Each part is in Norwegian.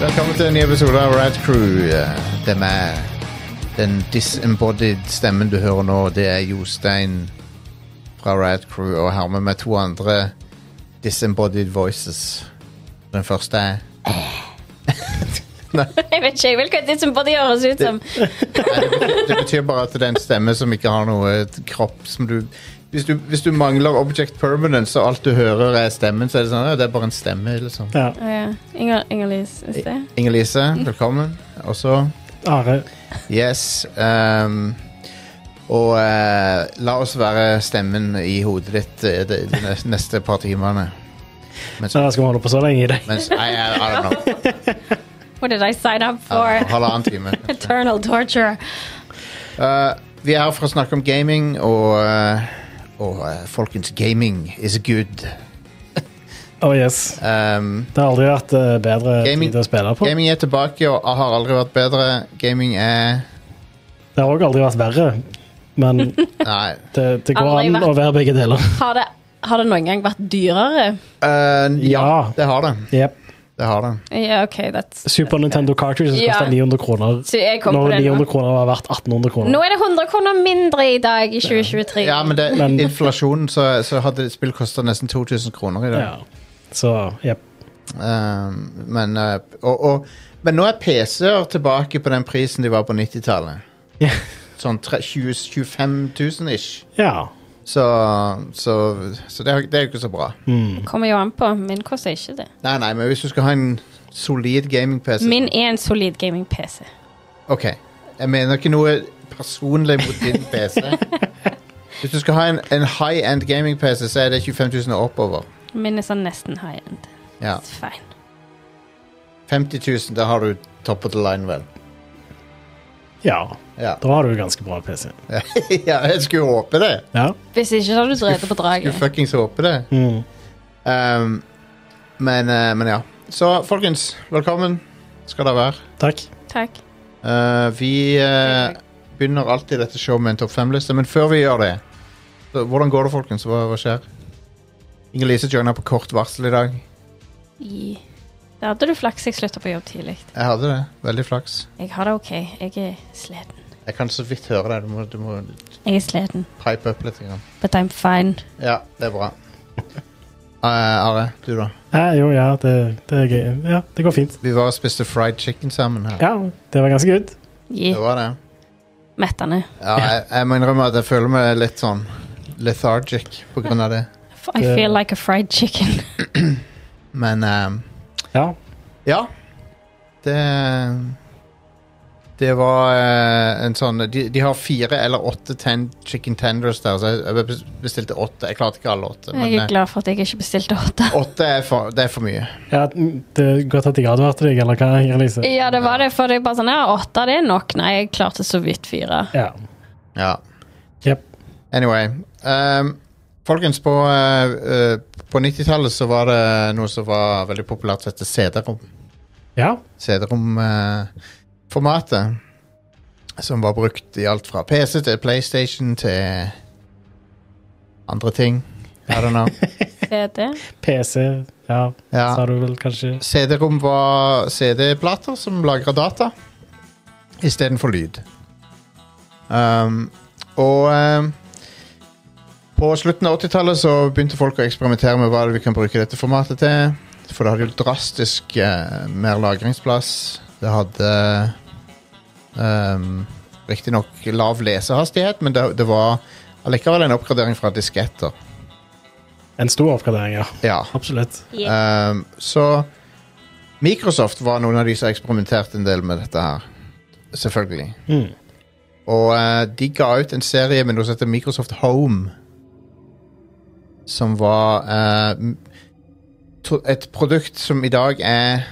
Velkommen til en ny episode av Rad Crew. Eh, Det er meg. Den disembodied stemmen du hører nå, det er Jostein fra Rad Crew, og her med meg to andre disembodied voices. Den første er Jeg vet ikke, jeg vil ikke at det som bare høres ut som Det betyr bare at det er en stemme som ikke har noe et kropp som du hvis, du hvis du mangler object permanence, og alt du hører er stemmen, så er det sånn «Å, det er bare en stemme, liksom. Ja. Å ja. Inger, Inger-Lise i sted. Inger-Lise, velkommen. Og så Are. Yes. ehm, og eh, la oss være stemmen i hodet ditt eh, de, de nes- neste par timene. Mens, Så jeg skal vi holde på så lenge i dag. mens I, I, I don't know. What did I sign up for? Ja, Halvannen time. Eternal torture. Eh, vi er her for å snakke om gaming, og, eh, og eh, folkens, gaming is good. Oh yes. Ehm, Det har aldri vært eh, bedre Gaming- tid å spille på. gaming er tilbake og har aldri vært bedre. Gaming er Det har òg aldri vært verre. Men Nei. det, det går Aldri an vært- å være begge deler. Har det, har det noen gang vært dyrere? Eh, ja, Ja. det har det. Yep. Det har det. Ja, OK, that's Super Nintendo cartridges Ja. koster 900 kroner. Så jeg kom på Når det 900 nå. kroner har vært 1800 Nå kroner. er det 100 kroner mindre i dag i 2023. Ja, men det, Men- inflasjonen, så, så hadde spill kosta nesten 2000 kroner i dag. Ja. Så yep. Um, men, uh, og, og, men nå er PC-er tilbake på den prisen de var på 90-tallet. Ja. Sånn tre- 20 25 000 ish. ja. Så, så, så det, er- det er jo ikke så bra. Kommer jo an på. Min koster ikke det. Nei, nei, men hvis du skal ha en solid gaming-PC Min er en solid gaming-PC. Ok, jeg mener ikke noe personlig mot din PC. Hvis du skal ha en, en high-end gaming-PC, så er det 25 000 og oppover. Min er sånn nesten high end. Ja. It's fine. 50 000, da har du top of the line, vel. ja. Ja, Da har du jo ganske bra PC. ja jeg skulle håpe det. Ja. Hvis ikke, så har du drevet på Skulle draget. fuckings håpe det. Mm. Um, men, eh, men ja. Så folkens, velkommen skal dere være. Takk. Takk. Eh, vi eh, begynner alltid dette showet med en topp fem-liste, men før vi gjør det så, Hvordan går det, folkens? Hva, hva skjer? Inger-Lise joina på kort varsel i dag. I- Da hadde du flaks jeg slutta på jobb tidlig. Jeg hadde det. Veldig flaks. Jeg har det OK. Jeg er sliten. Jeg kan så vidt høre deg. Du må, du må Jeg er sliten, pipe opp litt. Grann. but I'm fine. Ja, det er bra. Eh, Are, du, da? Ja, jo, ja. Det, det, er gøy. ja, det går fint. Vi var og spiste fried chicken sammen her. Ja, det var ganske good. Gi Det var det. mettende. Ja, jeg, jeg må innrømme at jeg føler meg litt sånn lethargic på grunn av det. F- I feel like a fried chicken. Men ehm, Ja. ja. Det Det var eh, en sånn de, de har fire eller åtte ten, chicken tenders der, så jeg, jeg bes- bestilte åtte. Jeg klarte ikke alle åtte, men Jeg er eh, glad for at jeg ikke bestilte åtte. åtte er for, det er for mye. ja. mm, Det er godt at jeg advarte deg, eller hva, Inger-Lise? Ja, det var det, for det er bare sånn Ja, åtte det er nok. Nei, jeg klarte så vidt fire. Ja. Ja. Jep. Anyway. ehm, folkens, på, eh, eh, på 90-tallet så var det noe som var veldig populært, som heter CD-rom. Ja. CD-rom-formatet. eh, som var brukt i alt fra PC til PlayStation til andre ting. I don't know. CD. PC, ja, Ja. sa du vel kanskje. CD-rom var CD-plater som lagra data istedenfor lyd. Um, og um, på slutten av 80-tallet så begynte folk å eksperimentere med hva vi kan bruke dette formatet til. For det hadde jo drastisk eh, mer lagringsplass. Det hadde um, riktignok lav lesehastighet, men det, det var allikevel en oppgradering fra disketter. En stor oppgradering, ja. Ja. Absolutt. Yeah. Um, så Microsoft var noen av de som eksperimenterte en del med dette her. Selvfølgelig. Mm. Og eh, de ga ut en serie med noe som heter Microsoft Home. Som var eh, m- to- et produkt som i dag er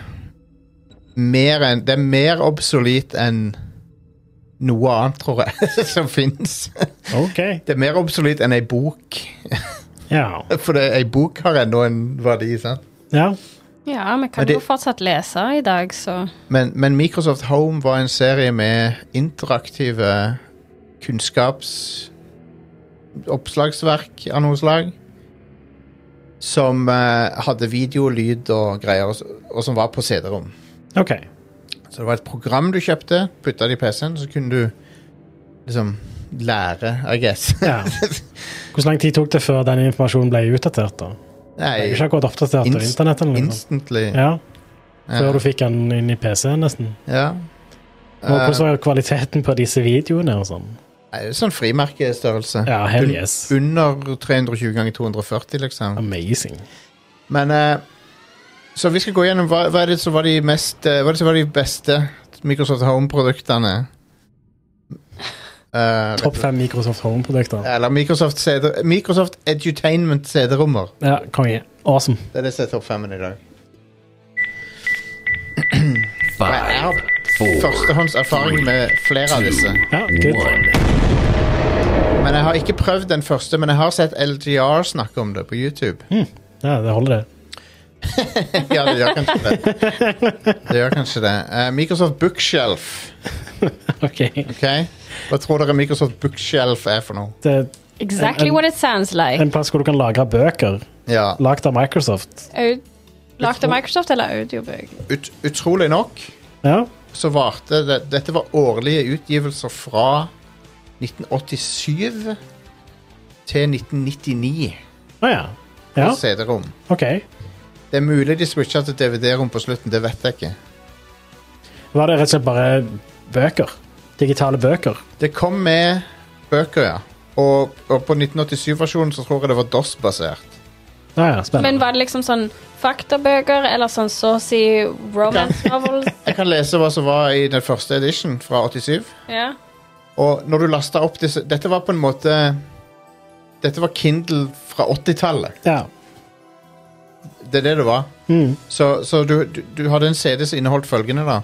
mer enn Det er mer obsolet enn noe annet, tror jeg, som fins. Ok, Det er mer obsolet enn ei bok. ja. For det- ei bok har ennå en verdi, sant? ja. Ja, vi Men kan det- jo fortsatt lese i dag, så Men, men Microsoft Home var en serie med interaktive kunnskapsoppslagsverk av noe slag. Som eh, hadde video, lyd og greier, og, s- og som var på CD-rom. Ok, Så det var et program du kjøpte, putta det i PC-en, så kunne du liksom lære, I guess. Ja. Hvor lang tid tok det før den informasjonen ble utdatert? da? Det er jo Nei, ikke akkurat oppdatert av Inst- internett. eller noe sånt. instantly. Ja, Ja. Før du fikk den inn i PC-en, nesten. Ja. Eh, Og Hvordan var kvaliteten på disse videoene? og sånn? Nei, det er sånn frimerkestørrelse. Ja, hell yes. Under 320 ganger 240, liksom. Amazing. Men eh, Så vi skal gå gjennom hva, hva er det som var de mest eh, Hva er det som var de beste Microsoft Home-produktene? Eh, Topp fem Microsoft Home-produkter. Eller Microsoft, CD, Microsoft Edutainment CD-rommer. Ja, konge. Awesome. Det er det som er topp femmen i dag. Hva Five, er four, førstehåndserfaring med flere av disse? Ja, good. one. Men jeg har ikke prøvd den første, men jeg har sett LGR snakke om det på YouTube. Hmm. Ja, det holder, det. Ja, det gjør kanskje det. Det gjør kanskje det. Eh, Microsoft Bookshelf, Ok. OK? Hva tror dere Microsoft Bookshelf er for noe? Det er Exactly what it sounds like. en plass hvor du kan lagre bøker Ja, lagd av Microsoft. Au- Lagt av Microsoft eller audiobøk? ut, Utrolig nok Ja, så varte det Dette var årlige utgivelser fra 1987 til 1999 Å ja. på ja. CD-rom. Ok. Det er mulig de switcha til DVD-rom på slutten, det vet jeg ikke. Var det rett og slett bare bøker? Digitale bøker? Det kom med bøker, ja. Og, og på 1987-versjonen så tror jeg det var DOS-basert. Ja, ja, Men spennende. var det liksom sånn faktabøker eller sånn så å si romance novels? Jeg kan lese hva som var i den første edition fra 87. Ja. Og når du lasta opp disse Dette var på en måte Dette var Kindle fra 80-tallet. Ja. Det er det det var. Mm. Så, så du, du, du hadde en CD som inneholdt følgende, da.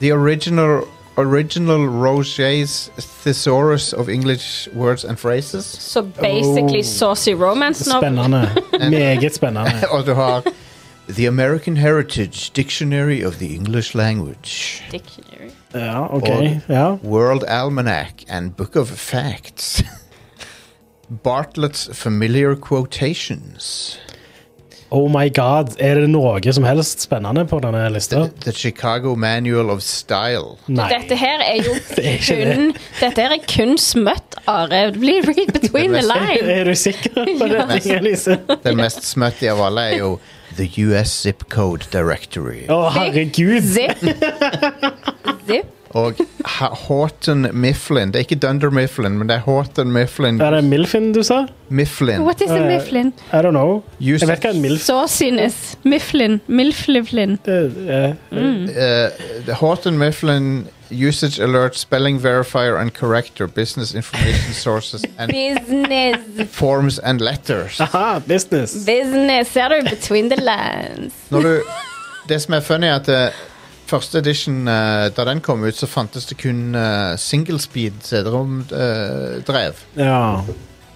The original, original Roger's Thesaurus of English Words and Phrases. Så basically Oh. saucy romance novels. Spennende. Meget spennende. Og du har The American Heritage Dictionary of the English Language. Dictionary. Ja, ok. Ja. World Almanac and Book of Facts. Bartlett's Familiar Quotations. Oh my god, er det noe som helst spennende på denne lista? The, the Chicago Manual of Style. Nei. Dette her er jo Det er ikke det. kun Dette her er kun smøtt, Are. Bli read between the line. Er du sikker på det, Inger-Lise? Den mest smutty av alle er jo The US Zip Code Directory. Å, herregud. Zip. Zip. Og Ha- Houghton Mifflin. Det er ikke Dunder Mifflin, men det er Houghton Mifflin. Er det Milfin du sa? Mifflin. What is a mifflin? I don't know. Usage. Jeg vet hva en Milf Sauciness. Mifflin. Milflivlin. er. Eh, the Horton Mifflin Usage Alert Spelling Verifier and Corrector Business Information Sources and Business. Forms and Letters. Aha, business. Business. Ser du? Between the lines. Når du, det som er funny, er at eh, første edition, eh, da den kom ut, så fantes det kun eh, singlespeed CD-rom-drev. Ja.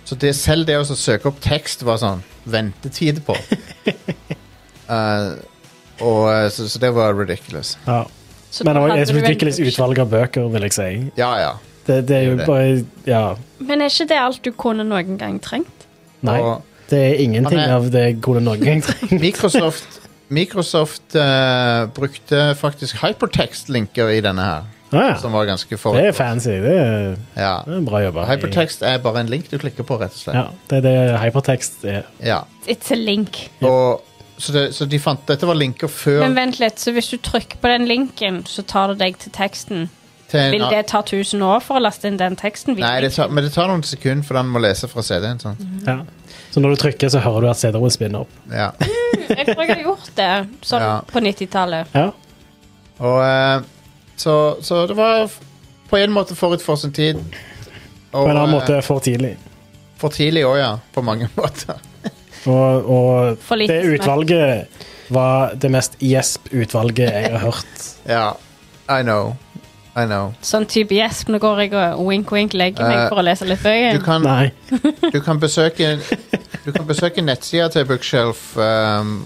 så det, selv det å så søke opp tekst var sånn ventetid på. Eh, og, eh, så, så det var ridiculous. ja. Så Men det da var hadde et du en ridiculous production. utvalg av bøker, vil jeg si. Ja, ja. Det, det er jo Det er bare Ja. Men er ikke det alt du kunne noen gang trengt? Nei. Og- Det er ingenting Han er- av det jeg kunne noen gang trenger. Microsoft, Microsoft eh, brukte faktisk hypertext-linker i denne her, Ah, som ja. var ganske for... Det er fancy. Det er, Ja. det er bra jobba. Hypertext er bare en link du klikker på, rett og slett. Ja, det er det hypertekst er. Ja. It's a link. Og, så, det, så de fant Dette var linker før Men vent litt, så hvis du trykker på den linken, så tar det deg til teksten. til en, Vil det ta 1000 år for å laste inn den teksten? Nei, det tar, men det tar noen sekunder, for den må lese fra CD-en. Sånn. Mhm. Ja. Så når du trykker, så hører du at CD-rommet spinner opp. Ja. Jeg tror jeg har gjort det sånn Ja. på 90-tallet. Ja. Og eh, så, så det var f- på en måte forut for sin tid. Og, På en annen eh, måte for tidlig. For tidlig òg, ja. På mange måter. Og, og For lite det utvalget var det mest gjesp-utvalget jeg har hørt. Ja. I know. I know. Sånn type gjesp. Nå går jeg og wink-wink legger meg Eh, for å lese litt Du bøker. kan, Nei. Du kan besøke Du kan besøke nettsida til Bookshelf um,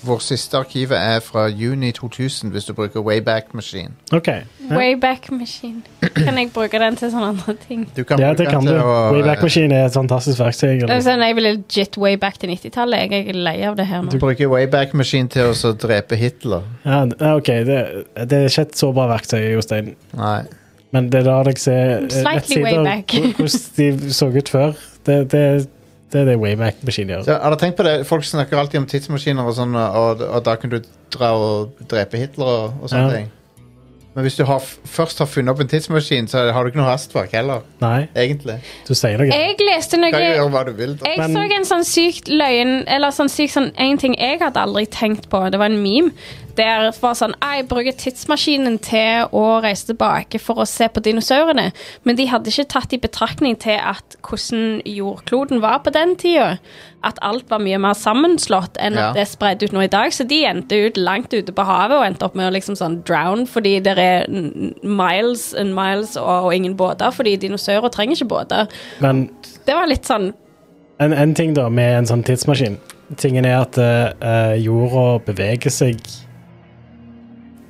Vår siste arkivet er fra juni 2000, hvis du bruker Wayback Machine. OK. Ja. Wayback Machine. Kan jeg bruke den til sånne andre ting? Du kan Ja, bruke det kan den til du. å, eh, Wayback Machine er et fantastisk verktøy. Det er eller- sånn, jeg vil legit way back til 90-tallet. Jeg jeg er lei av det her Du nå. bruker Wayback Machine til å så drepe Hitler. Ja, ja, OK, det, det er ikke et så bra verktøy, Jostein. Nei. Men det lar deg se eh, Mm, Slightly way nettsider back. hvor- hvordan de så ut før. Det, det, det er det Wayback-maskinen gjør. Så, har dere tenkt på det? Folk snakker alltid om tidsmaskiner og sånn, og, og da kan du dra og drepe Hitler og, og sånne Ja. ting. Men hvis du har, f- først har funnet opp en tidsmaskin, så har du ikke noe hastverk heller. Nei, Egentlig. du sier noe. Jeg leste noe Du kan jo gjøre hva du vil. Da. Jeg Men- så en sånn sykt løgn Eller sånn sykt sånn En ting jeg hadde aldri tenkt på Det var en meme Der det var sånn «Ah, Jeg bruker tidsmaskinen til å reise tilbake For å se på dinosaurene Men de hadde ikke tatt i betraktning til at Hvordan jordkloden var på den tiden At alt var mye mer sammenslått Enn Ja. at det er spredt ut nå i dag Så de endte ut langt ute på havet Og endte opp med å liksom sånn drown Fordi det er n- miles and miles og, og ingen båter Fordi dinosaurer trenger ikke båter Men Det var litt sånn en, en ting da med en sånn tidsmaskin Tingen er at eh, eh, jorda beveger seg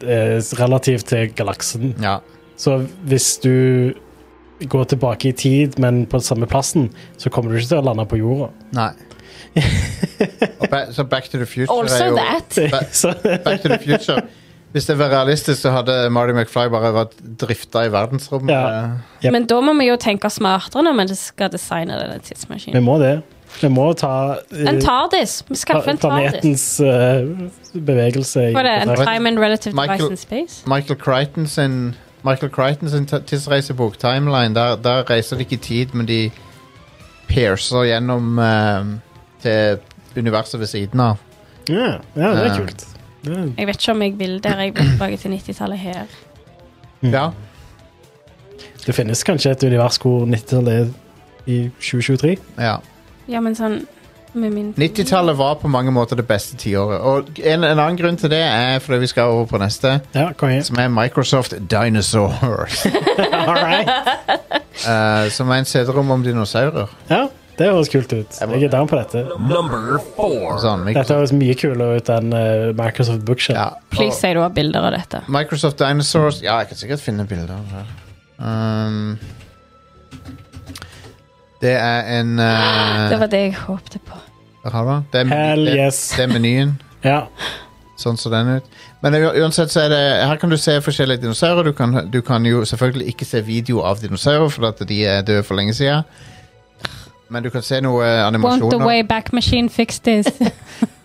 eh, relativt til galaksen. Ja. Så hvis du går tilbake i tid, men på samme plassen, så kommer du ikke til å lande på jorda. Nei. og ba så Back to the Future Also er jo that Ba- Så, Back to the Future. Hvis det var realistisk, så hadde Marty McFly bare vært drifta i verdensrommet. Ja. Yep. Men da må vi jo tenke smartere når vi skal designe denne vi tidsmaskinen. må det. Vi må ta eh, En TARDIS. Vi skaffer en TARDIS. planetens eh, bevegelse. i- Var det en vet- time and relative device Michael- in space? Michael Crichton sin Michael Crichton sin t- tidsreisebok, Timeline, der, der reiser de ikke i tid, men de piercer gjennom eh, til universet ved siden av. Ja, ja, det er Ja. kult. Det er- Jeg vet ikke om jeg vil der jeg vil tilbake til 90-tallet her. Ja. Det finnes kanskje et univers hvor 90-tallet er i 2023? ja. Ja, men sånn med min 90-tallet var på mange måter det beste tiåret. Og en, en annen grunn til det er fordi vi skal over på neste, Ja, kom igjen. som er Microsoft Dinosaurs. All right. eh, som er en CD-rom om dinosaurer. Ja, det høres kult ut. Jeg er down på dette. Number four. Sånn, Dette Microsoft, høres mye kulere ut enn eh, Microsoft Bookshop. ja. Please si du har bilder av dette. Microsoft Dinosaurs Ja, jeg kan sikkert finne bilder av det. Um, det er en uh, Det var det jeg håpte på. Hva har du? Det er, Hell det, yes. det er menyen. Ja. Sånn ser den ut. Men u- uansett så er det Her kan du se forskjellige dinosaurer. Du kan, du kan jo selvfølgelig ikke se video av dinosaurer, for at de er døde for lenge siden. Men du kan se noe eh, Won't the animasjoner. way back machine fix this?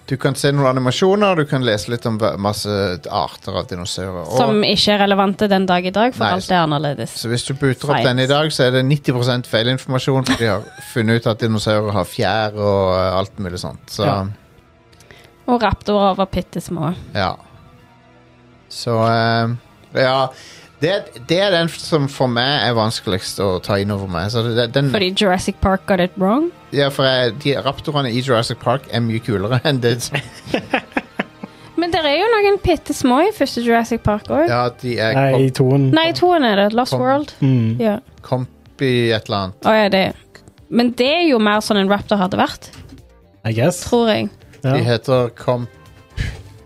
Du kan se noen animasjoner, du kan lese litt om hva- masse arter av dinosaurer. Og- Som ikke er relevante den dag i dag, for Nei, alt er annerledes. Så hvis du booter opp Science. den i dag, så er det 90 feilinformasjon, for de har funnet ut at dinosaurer har fjær og eh, alt mulig sånt. Så ja. Ja. Og raptorer var bitte små. Så eh, Ja. Det, det er den som for meg er vanskeligst å ta inn over meg. Så det, den, Fordi Jurassic Park got it wrong. ja, for jeg, de raptorene i Jurassic Park er mye kulere enn det som Men det er jo noen bitte små i første Jurassic Park òg. Ja, de er Nei, i toen. Nei, toen er det. Lost Kom. World. Mm. Ja. komp i et eller annet. Å, ja, det. Men det er jo mer sånn en raptor hadde vært, I guess. tror jeg. De Ja. heter komp,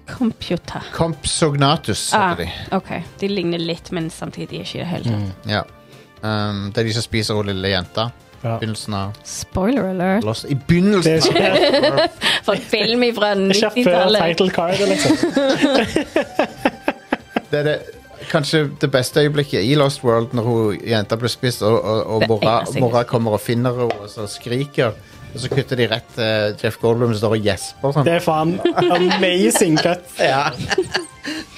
Computer. Compsognatus, Ah, heter OK. De ligner litt, men samtidig ikke i det hele tatt. Mm. de. Ja. Um, det er de som spiser hun lille jenta. Ja. Begynnelsen av Spoiler alert. Lost I begynnelsen! Det er av- ikke, For en film fra ikke før 90-tallet. title card, liksom. Det er det, kanskje det beste øyeblikket i Lost World, når hun jenta blir spist, og, og, og Det mora, eneste jeg mora kommer og finner henne og så skriker. Og så kutter de rett til Jeff Goldblum som står og gjesper sånn. Det er faen amazing cut. Ja.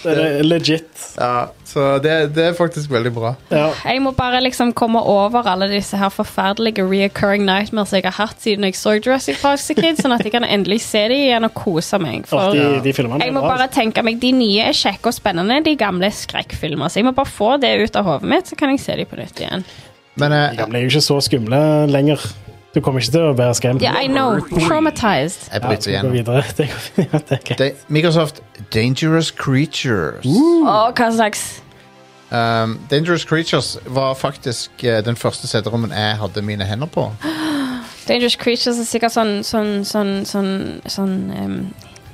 Det er legit. ja, så det, det er faktisk veldig bra. Ja. Jeg må bare liksom komme over alle disse her forferdelige reoccurring nightmares jeg har hatt siden jeg så Jurassic Park som kid, sånn at jeg kan endelig se dem igjen og kose meg. Og For de, de filmene Jeg må bare tenke meg, De nye er kjekke og spennende, de gamle er skrekkfilmer. Så jeg må bare få det ut av hodet mitt, så kan jeg se dem på nytt igjen. Men eh, De jeg, gamle er jo ikke så skumle lenger. Du kommer ikke til å være skremt. Yeah, I know. Traumatized. jeg Ja, bryter skal vi igjennom. gå videre? Det går- ja, det er greit. De, Microsoft Dangerous Creatures. Uh. Å, hva slags Um, Dangerous Creatures var faktisk eh, den første CD-rommen jeg hadde mine hender på. Dangerous Creatures er sikkert sånn sånn, sånn, sånn, sånn em,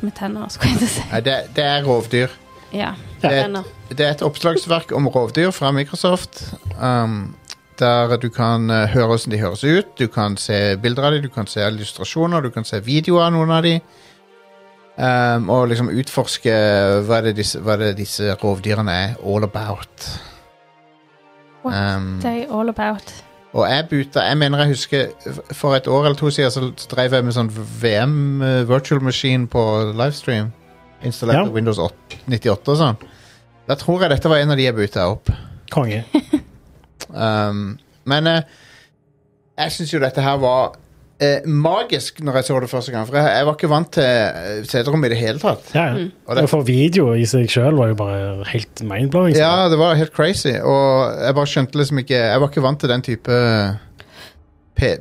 med tenner, skulle jeg til å si. Nei, det, det er rovdyr. Ja, Ja. Det- tenner. Det er et oppslagsverk om rovdyr fra Microsoft. Um, der du kan eh, høre hvordan de høres ut, du kan se bilder av dem, du kan se illustrasjoner, du kan se videoer av noen av dem. Um, og liksom utforske hva er det disse, hva er det disse rovdyrene er all about. What Um, They all about. og jeg buta Jeg mener jeg husker f- for et år eller to siden så så drev jeg med sånn VM eh, virtual machine på livestream. Installert Ja. på Windows 8, 98 og sånn. Da tror jeg dette var en av de jeg buta opp. Konge. Um, men eh, jeg syns jo dette her var eh, magisk når jeg så det første gang. For jeg, jeg var ikke vant til eh, CD-rom i det hele tatt. Ja, Mm. ja. Og det, For video i seg sjøl var jo bare helt mindblowing. så- ja, det var helt crazy. Og jeg bare skjønte liksom ikke Jeg var ikke vant til den type P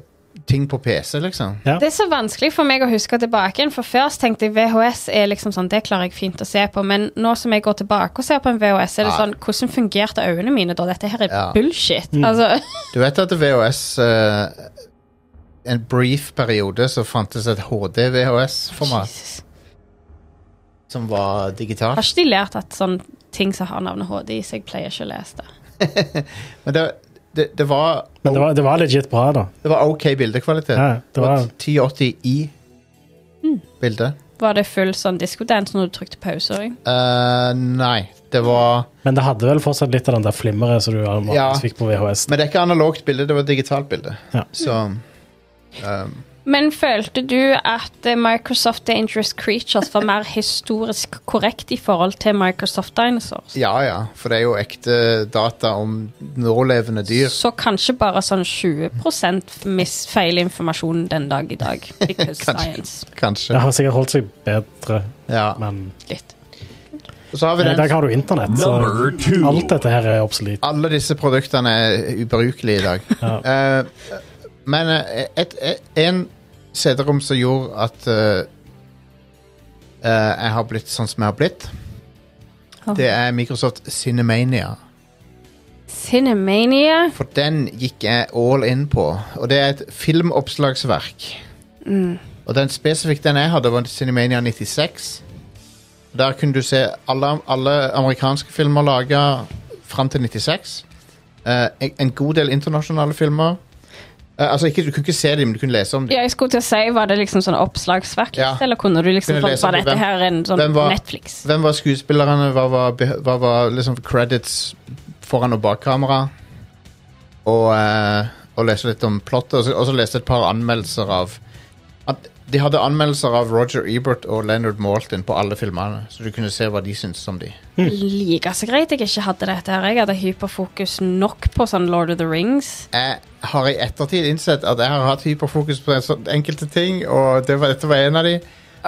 ting på PC, liksom. Ja. Det er så vanskelig for meg å huske tilbake igjen, for først tenkte jeg VHS er liksom sånn, det klarer jeg fint å se på, men nå som jeg går tilbake og ser på en VHS, er det Ja. sånn, hvordan fungerte øynene mine da? Dette her er Ah. Ja. bullshit. Altså, Du vet at VHS eh, En brief periode så fantes et HD-VHS-format Jesus. som var digitalt. Har ikke de lært at sånn ting som har navnet HD i seg, pleier ikke å lese det? Men det, det, det var Men det var, det var legit bra, da. Det var OK bildekvalitet. Ja, det det var var- 1080i bilde. Var det full sånn diskodans når du trykte pause? også? Eh, nei, det var Men det hadde vel fortsatt litt av den der flimmeret som du vanligvis Ja. fikk på VHS. Men det er ikke analogt bilde, det var et digitalt bilde. Ja. Så ehm, Men følte du at eh, Microsoft Dangerous Creatures var mer historisk korrekt i forhold til Microsoft Dinosaurs? Ja ja, for det er jo ekte data om nålevende dyr. Så kanskje bare sånn 20 mis feil informasjon den dag i dag. Because science. Det Kanskje. har sikkert holdt seg bedre, Ja. men Litt. Og så har vi i dag den. har du internett, så Number two. alt dette her er obsolet. Alle disse produktene er ubrukelige i dag. Eh, men eh, et, et, en CD-rom som gjorde at eh, eh, jeg har blitt sånn som jeg har blitt, Ja. det er Microsoft Cinemania. Cinemania. For den gikk jeg all in på. Og det er et filmoppslagsverk. Og den spesifikt den jeg hadde, var Cinemania 96. Der kunne du se alle, alle amerikanske filmer laga fram til 96. Eh, en, en god del internasjonale filmer. Eh, altså ikke, Du kunne ikke se dem, men du kunne lese om dem. Ja, jeg skulle til å si, Var det liksom sånn oppslagsverk? Ja. Eller kunne du liksom Kunne sånn, lese Var på dette hvem- her en sånn hvem var- Netflix? Hvem var skuespillerne? Hva var, beh- hva var liksom credits foran og bak kamera? Og, eh, og lese litt om plottet, og så- og så lese et par anmeldelser av at De hadde anmeldelser av Roger Ebert og Leonard Maltin på alle filmene, så du kunne se hva de syntes om de. Like så greit jeg ikke hadde dette her. Jeg hadde hyperfokus nok på sånn Lord of the Rings. Jeg har i ettertid innsett at jeg har hatt hyperfokus på en sånn enkelte ting, og det var, dette var en av de.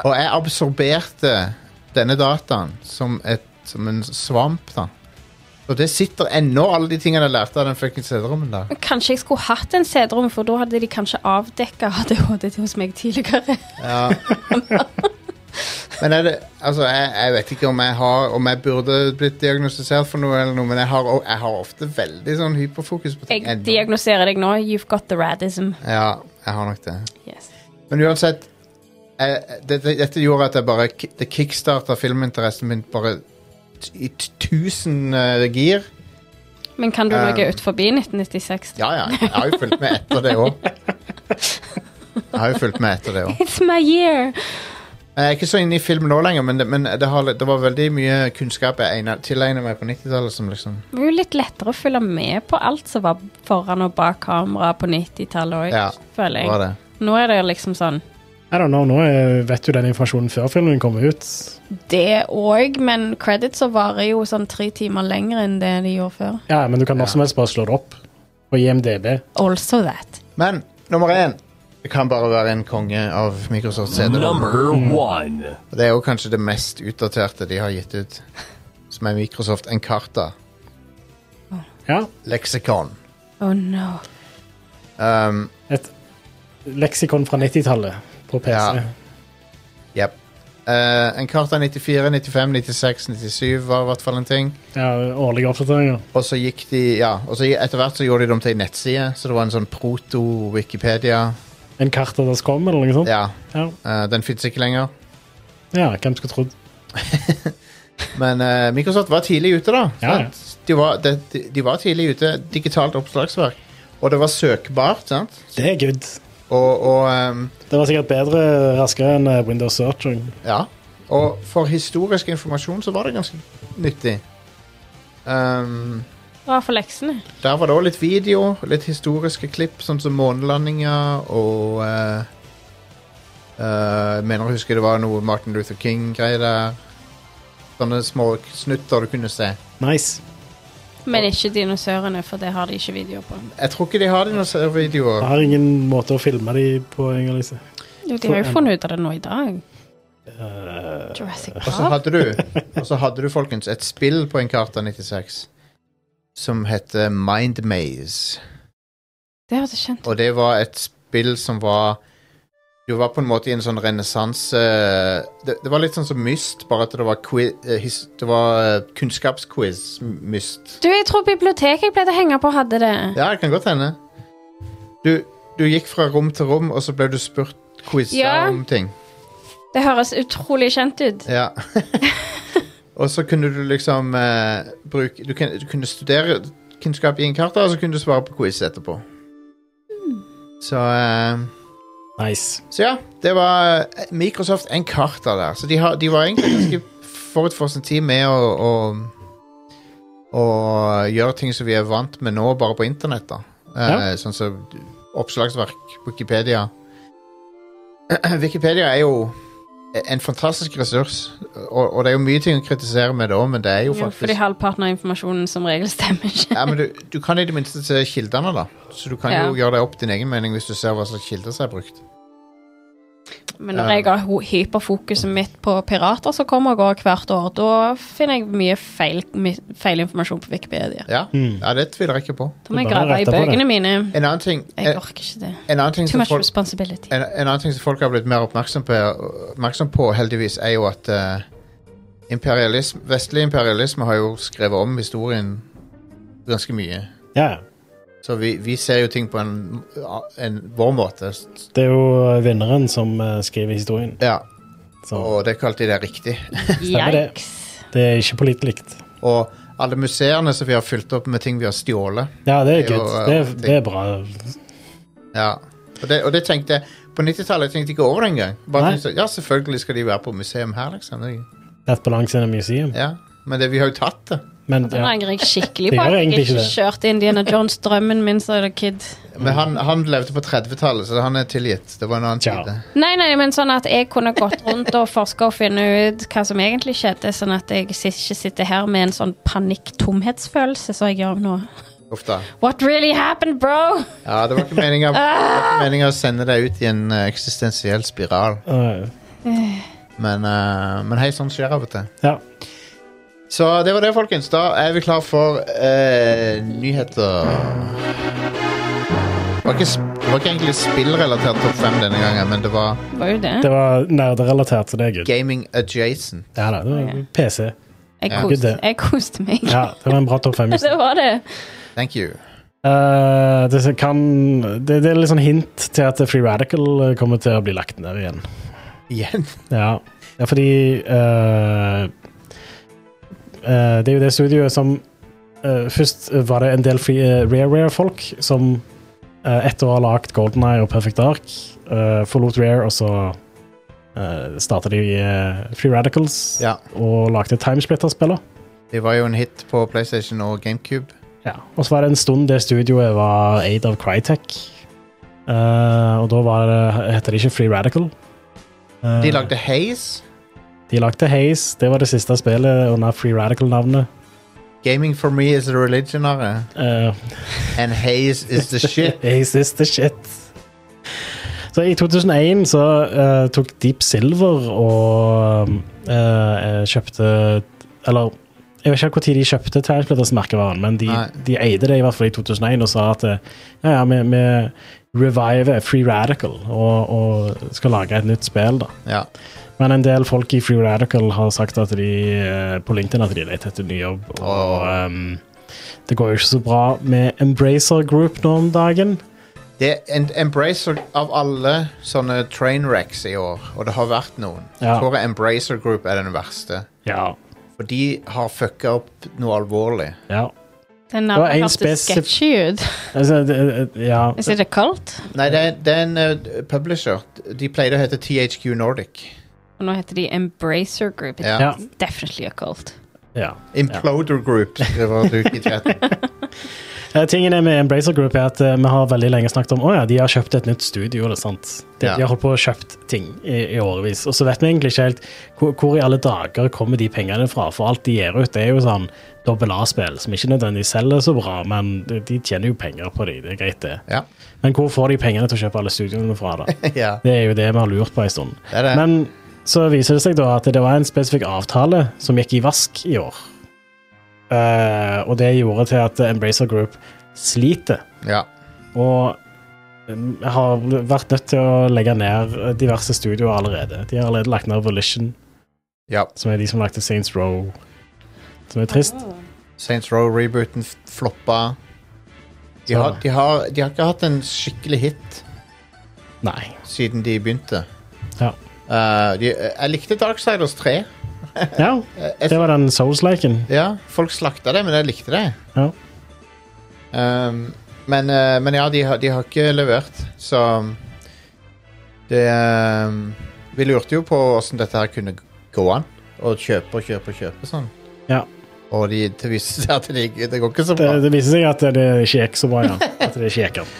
Og jeg absorberte denne dataen som, et, som en svamp, da. Og det sitter ennå, alle de tingene jeg lærte av den fuckings CD-rommen der. Kanskje jeg skulle hatt en CD-rom, for da hadde de kanskje avdekka ADHD hos meg tidligere. Ja. Men er det, altså jeg, jeg vet ikke om jeg har Om jeg burde blitt diagnostisert for noe, eller noe men jeg har, o- jeg har ofte veldig sånn hyperfokus på ting. Jeg ennå. diagnoserer deg nå. You've got the radism. ja, jeg har nok det. Yes. Men uansett jeg, dette, dette gjorde at jeg bare ki- Det kickstarta filminteressen min bare t- i t- tusen eh, gir. Men kan du Um, noe ut forbi 1996? Ja, ja. Jeg har jo fulgt med etter det òg. Jeg har jo fulgt med etter det òg. It's my year! Jeg er ikke så inne i film nå lenger, men det, men det, har, litt- det var veldig mye kunnskap jeg egnet- tilegnet meg på 90-tallet som liksom Det var jo litt lettere å følge med på alt som var foran og bak kamera på 90-tallet òg, Ja, føler var jeg. det. Nå er det liksom sånn I don't know, nå eh, vet du den informasjonen før filmen kommer ut. Det òg, men creditsa varer jo sånn tre timer lenger enn det de gjorde før. Ja, men du kan når som helst bare slå det opp på IMDb. Also that. Men nummer én Det kan bare være en konge av Microsoft CD. Number one. Det er jo kanskje det mest utdaterte de har gitt ut, som er Microsoft Encarta Ja, leksikon. Oh no. Um, et leksikon fra 90-tallet på PC. Ja. yep. uh, Encarta 94, 95, 96, 97 var i hvert fall en ting. Ja, årlige oppdateringer. Og så gikk de, ja, og så etter hvert så gjorde de det om til en nettside, så det var en sånn proto-Wikipedia. En kart av das kom, eller noe sånt. Ja, uh, Ja. Eh, den fins ikke lenger. Ja, hvem skulle trodd? Men eh, Microsoft var tidlig ute, da. Ja, sant? De, var, de, de- de var tidlig ute. Digitalt oppslagsverk. Og det var søkbart, sant? Det er good. Og, og ehm, Det var sikkert bedre raskere enn eh, Windows Search. og- Ja. Og for historisk informasjon så var det ganske nyttig. Ehm, Bra for leksene. der var det òg litt video, litt historiske klipp, sånn som månelandinga og eh, eh, Mener å huske det var noe Martin Luther King-greier der. Sånne små snutter du kunne se. Nice. Men ikke dinosaurene, for det har de ikke video på. Jeg tror ikke de har Jeg dinosaurvideoer. har ingen måte å filme de på, Inger Lise. Jo, de har jo funnet ut av det nå i dag. Eh, Jurassic Og så Park. hadde du, og så hadde du folkens, et spill på Encarta 96 som heter Mind Maze. Det hørtes kjent ut. Og det var et spill som var Du var på en måte i en sånn renessanse det, det var litt sånn som Myst, bare at det var, qui- eh, his, det var eh, kunnskapsquiz m- Myst. Du, jeg tror biblioteket jeg pleide å henge på, hadde det. Ja, det kan godt hende. Du, du gikk fra rom til rom, og så ble du spurt quiza Ja. om ting. Det høres utrolig kjent ut. Ja. og så kunne du liksom eh, bruke du, kunne- du kunne studere kunnskap i en kart, og så kunne du svare på quiz etterpå. Så eh, nice. Så ja, det var eh, Microsoft Encarta der. Så de, har, de var egentlig ganske forut for sin tid med å, å, å gjøre ting som vi er vant med nå, bare på internett. da. Eh, Ja. Sånn som oppslagsverk, Wikipedia. Wikipedia er jo en fantastisk ressurs, og, og det er jo mye ting å kritisere med det òg, men det er jo Jo, faktisk fordi halvparten av informasjonen som regel stemmer ikke. ja, men du, du kan i det minste se kildene, da. Så du kan Ja. jo gjøre deg opp din egen mening hvis du ser hva slags kilder som er brukt. Men når Ja. jeg har ho- hyperfokuset mitt på pirater som kommer og går hvert år, da finner jeg mye feil, mi- feil informasjon på Wikipedia. Ja, Mm. ja det tviler jeg ikke på. Da må jeg Bare grave i rette på det. Eh, bøkene mine. En annen ting Jeg orker ikke det. En annen ting, Too som much folk, responsibility. en, en annen ting som folk har blitt mer oppmerksom på, oppmerksom på heldigvis, er jo at eh, imperialism, vestlig imperialisme har jo skrevet om historien ganske mye. Ja, ja. Så vi, vi ser jo ting på en, en vår måte. Det er jo vinneren som eh, skriver historien. Ja, Så og det kalte de det riktig. Stemmer det. Yikes. det er ikke pålitelig. Og alle museene som vi har fylt opp med ting vi har stjålet. Ja, det er Det er jo, eh, good. Det er, ting. det er bra. Ja. Og det, og det tenkte jeg På 90-tallet tenkte jeg ikke over det engang. Bare Nei. tenkte, ja, selvfølgelig skal de være på museum her, liksom. Det- That belongs in a museum. Ja. Men det, vi har jo tatt det. Men Den ja, angrer jeg skikkelig Det på. gjør at Jeg egentlig ikke ikke det. kjørte Indiana Jones-drømmen min som a kid. Men han, han levde på 30-tallet, så han er tilgitt. Det var en annen Tja. tid. det. Nei, nei, men sånn at jeg kunne gått rundt og forska og finne ut hva som egentlig skjedde, sånn at jeg sit- ikke sitter her med en sånn panikk-tomhetsfølelse som jeg gjør nå. Uff da. What really happened, bro? Ja, det var ikke meninga å sende deg ut i en eh, eksistensiell spiral, eh, men, eh, men hei, sånn skjer av og til. ja. Så det var det, folkens. Da er vi klar for eh, nyheter. Det var, ikke, sp- det var ikke egentlig spillrelatert topp fem denne gangen, men det var Det var jo Det det. var nerderelatert, så det er good. gaming adjacent. Ja da, det var Ja. PC. Jeg Ja. koste, jeg koste meg. Ja, det var en bra topp fem. Det var det. Thank you. Eh, det, som kan, det, det er litt sånn hint til at Free Radical eh, kommer til å bli lagt ned igjen. Igjen. Ja, ja fordi eh, eh, Det er jo det studioet som eh, Først var det en del free, eh, Rare-Rare-folk som eh, etter å ha lagd Golden Eye og Perfect Dark, eh, forlot Rare, og så uh, starta de eh, Free Radicals Ja. og lagde Timesplitter-spiller. Det var jo en hit på PlayStation og GameCube. Ja. Og så var det en stund det studioet var aid av Crytek. Eh, og da var det, heter det ikke Free Radical. Eh, De lagde Haze, De lagde Haze. Det var det siste spillet under Free Radical-navnet. Gaming for me is a religion. Are. Eh, And Haze is the shit. Haze is the shit. Så i 2001 så eh, tok Deep Silver og eh, eh, kjøpte Eller jeg vet ikke når de kjøpte Terrensplitters merkevaren, men de, Nei. de eide det i hvert fall i 2001 og sa at eh, ja, ja, vi, vi reviver Free Radical og, og skal lage et nytt spill, da. Ja. Men en del folk i Free Radical har sagt at de, eh, på LinkedIn at de leter etter ny jobb. Og eh, Åh. ehm, det går jo ikke så bra med Embracer Group nå om dagen. Det er en Embracer av alle sånne train wrecks i år, og det har vært noen, Ja. så tror jeg Embracer Group er den verste. Ja. For de har fucka opp noe alvorlig. ja. Den Det var en navnet hørtes spesif- sketchy ut. Altså, det, ja. Is it a cult? Nei, det er, det er en eh, publisher. De pleide å hete THQ Nordic. Og nå heter de Embracer Group. It's Ja. Ja. definitely a cult. ja. Imploder Group, skriver du i chatten. Eh, Tingen er med Embracer Group er at eh, vi har veldig lenge snakket om å ja, de har kjøpt et nytt studio. Eller sant? De, Ja. de har holdt på og kjøpt ting i, i årevis. Og så vet vi egentlig ikke helt hvor, hvor i alle dager kommer de pengene fra. For alt de gir ut, det er jo sånn dobbel A-spill som ikke nødvendigvis selger så bra, men de de tjener jo penger på de, det er greit, det. Ja. Men hvor får de pengene til å kjøpe alle studioene fra, da? ja. Det er jo det vi har lurt på en stund. Det er det. Men så viser det seg da at det var en spesifikk avtale som gikk i vask i år. Eh, og det gjorde til at Embracer Group sliter. ja. Og mm, har vært nødt til å legge ned diverse studioer allerede. De har allerede lagt ned Volition, ja. som er de som lagde Saints Row. Som er trist. Oh. Saints Row-rebooten f- floppa. De Så- har, de, har, de har ikke hatt en skikkelig hit Nei. siden de begynte. Ja. Eh, de, jeg likte Darksiders 3. ja Eh, jeg- det var den Souls-liken. ja, folk slakta det, men jeg likte det. Ja. Um, men, eh, men ja, de, har- de har ikke levert, så um, det um, Vi lurte jo på åssen dette her kunne gå an. Å kjøpe og kjøpe og kjøpe sånn. Ja. Og de, det viste seg at det, ikke- det går ikke så Det, bra. det viser seg at det ikke gikk så bra, ja. At det ikke gikk an.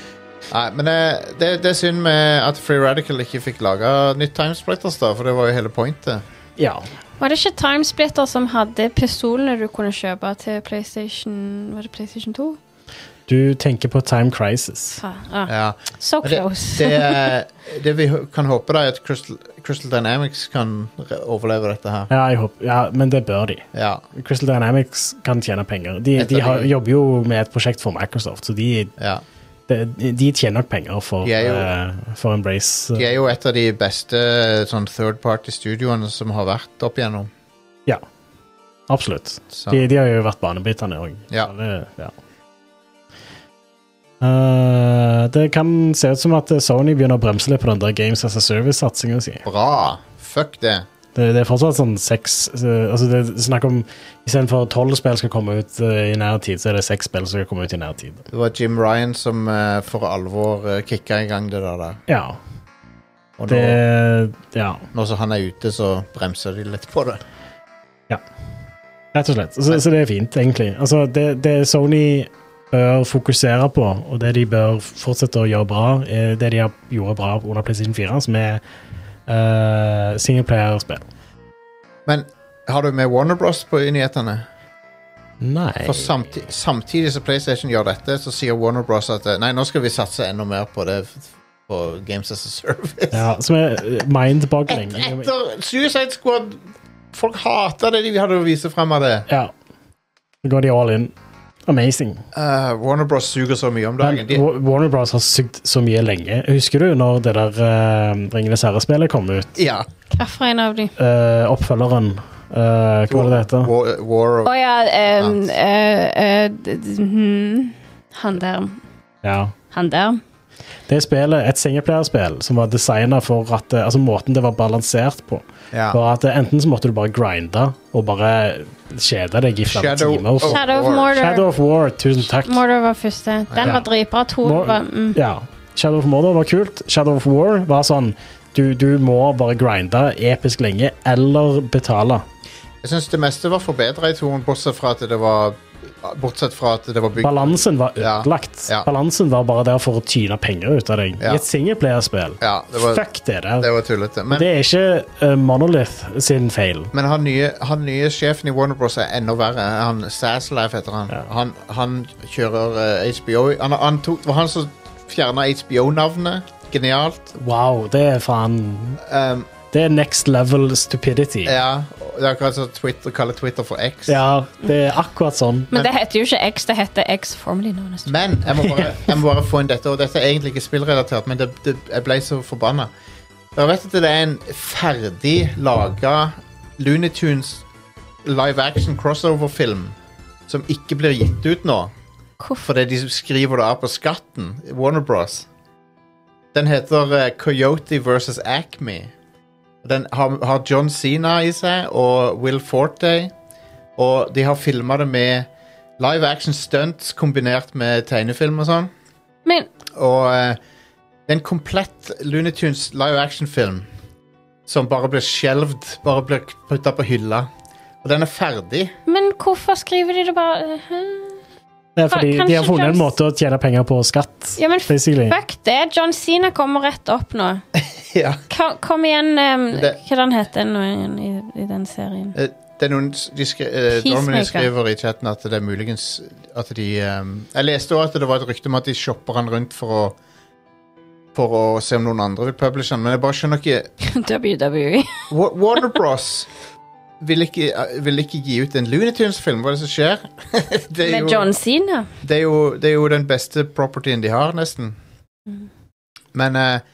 Nei, men eh, det, det er synd med at Free Radical ikke fikk laga nytt Timesplitters, da, for det var jo hele pointet. Ja. Var det ikke Timesplitter som hadde pistolene du kunne kjøpe til PlayStation Var det PlayStation 2? Du tenker på Time Crisis. Ah, ah. Ja. So Men det- close. Det, er- det vi hå- kan håpe, da, er at Crystal, Crystal Dynamics kan re- overleve dette her. Ja, jeg håper, ja, men det bør de. Ja. Crystal Dynamics kan tjene penger. De, Etter de har, de- jobber jo med et prosjekt for Microsoft, så de, ja. de, de tjener nok penger for, De er jo- eh, for Embrace. De er jo et av de beste eh, sånn third party-studioene som har vært opp igjennom. Absolutt. Så. De, de har jo vært banebryterne òg. Ja. Ja. Eh, det kan se ut som at Sony begynner å bremse litt på den der Games as a Service-satsinga si. Bra! Fuck det. Det, det er fortsatt sånn seks eh, Altså, det er snakk om istedenfor tolv spill skal komme ut eh, i nær tid, så er det seks spill som skal komme ut i nær tid. Det var Jim Ryan som eh, for alvor uh, kicka i gang det der. der. Ja. Og nå, Det Ja, nå som han er ute, så bremser de litt på det. rett og slett. Så, så det er fint, egentlig. Altså, det, det Sony bør fokusere på, og det de bør fortsette å gjøre bra, er det de har gjorde bra under PlayStation 4, som er uh, singleplayer-spill. Men har du med Warner Bros. på i nyhetene? Nei For samti samtidig som PlayStation gjør dette, så sier Warner Bros. at eh, nei, nå skal vi satse enda mer på det f- på Games as a Service. ja, Som er eh, mind-boggling. Etter Suicide Squad Folk hater det de hadde å vise frem av det. Ja. Så går de all in. Amazing. Eh, Warner Bros. suger så mye om dagen. Men De, Wa- Warner Bros. har sugd så mye lenge. Husker du når det der uh, Ringenes herre-spillet kom ut? ja. Hvilken av de? Eh, oppfølgeren eh, Hva var det det heter? War, War of Å ja em, Sant. eh, eh, d- d- hmm. Han der. Ja. Han der. Det spillet, et singleplayerspill som var designa for at eh, Altså måten det var balansert på, ja. var at eh, enten så måtte du bare grinde og bare kjede deg i flere Shadow Oh. timer. of- Shadow of War. Murder. Shadow of War, tusen takk. Murder var første. Den Ja. var dritbra. To Mor- var mm. Ja. Shadow of Murder var kult. Shadow of War var sånn du, du må bare grinde episk lenge, eller betale. Jeg syns det meste var forbedra i toen, bortsett fra at det var Bortsett fra at det var bygd Balansen var Ja. ødelagt. Ja. Balansen var bare der for å tyne penger ut av deg. Ja. I et singleplayerspill. Ja, det var, Fuck det der. det var tullete. Men, Det er ikke eh, Monolith sin feil. Men han nye, han nye sjefen i Warner Bros. er enda verre. Han Sazlife heter han. Ja. Han, han kjører eh, HBO. Han, han tok, det var han som fjerna HBO-navnet. Genialt. Wow, det er faen Um, Det er next level stupidity. Ja, ja, det er akkurat som Twitter kaller Twitter for X. det er akkurat sånn. Men det heter jo ikke X, det heter X formally known as Men jeg må, bare, jeg må bare få inn dette, og dette er egentlig ikke spillrelatert, men det, det, jeg ble så forbanna. Dere vet at det er en ferdig laga Tunes live action crossover-film som ikke blir gitt ut nå. Hvorfor? Fordi de skriver det av på skatten. Warner Bros. Den heter eh, Coyote versus Acme. Den har, har John Cena i seg og Will Forte. Og de har filma det med live action stunts kombinert med tegnefilm og sånn. Men Og eh, det er en komplett Looney Tunes live action-film som bare blir skjelvd, bare blir putta på hylla. Og den er ferdig. Men hvorfor skriver de det bare eh, Hæ? Det er fordi de har Kanskje funnet en John- måte å tjene penger på skatt. Ja, men Basically. fuck det. John Cena kommer rett opp nå. ja. Ka kom igjen um, Det- Hva den heter den nå igjen i, i den serien? Eh, Det er noen s- de skri, eh, Peacemaker. Dominic skriver i chatten at det er muligens at de ehm, Jeg leste òg at det var et rykte om at de shopper han rundt for å For å se om noen andre vil publishe han, men jeg bare skjønner ikke WWE. Wa- Warner Bros. vil ikke, eh, vil ikke gi ut en Looney Tunes-film. Hva er det som skjer? det, er Med jo, John Cena. det, er jo, det er jo den beste propertyen de har, nesten. Mhm. Men, eh,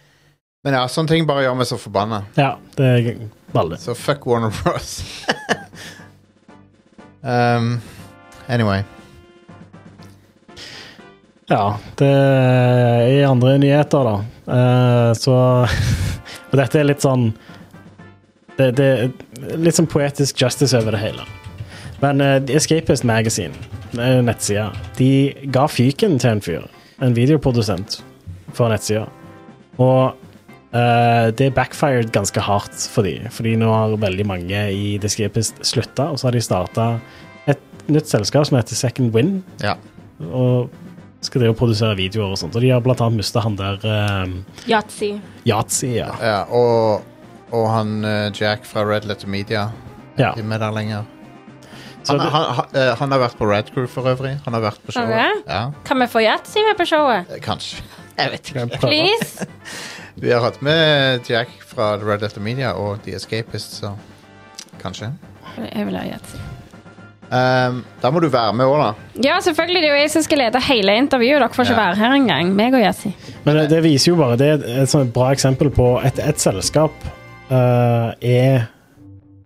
men ja, sånne ting bare gjør meg så forbanna. Ja, det er veldig. Så fuck Warner Bros. um, anyway. Ja, det er i andre nyheter, da. Eh, så Og dette er litt sånn det, det er litt sånn poetisk justice over det hele. Men eh, The Escapist Magazine, eh, nettsida, de ga fyken til en fyr. En videoprodusent for nettsida. Og eh, det backfired ganske hardt for de, fordi nå har veldig mange i The Escapist slutta, og så har de starta et nytt selskap som heter Second Wind Ja. og skal drive og produsere videoer og sånt. Og de har blant annet mista han der eh, Yatzy. Yatzy. Ja. ja og, og han eh, Jack fra Red Letter Media Ja. er med der lenger. Han, Så det- han, han, eh, han har vært på Red Crew for øvrig. Han har vært på showet. Har det? Ja, Kan vi få Yatzy med på showet? eh, kanskje. Jeg vet Skal jeg prøve? Please? Vi har hatt med Jack fra Red Letter Media og The Escapist, så kanskje. Jeg vil ha Yatzy. Um, da må du være med òg, da. Ja, selvfølgelig. Det er jo jeg som skal lede hele intervjuet. Dere får ikke Ja. være her engang. Meg og Yatzy. Men det, det viser jo bare Det er et sånt bra eksempel på et, et selskap eh, er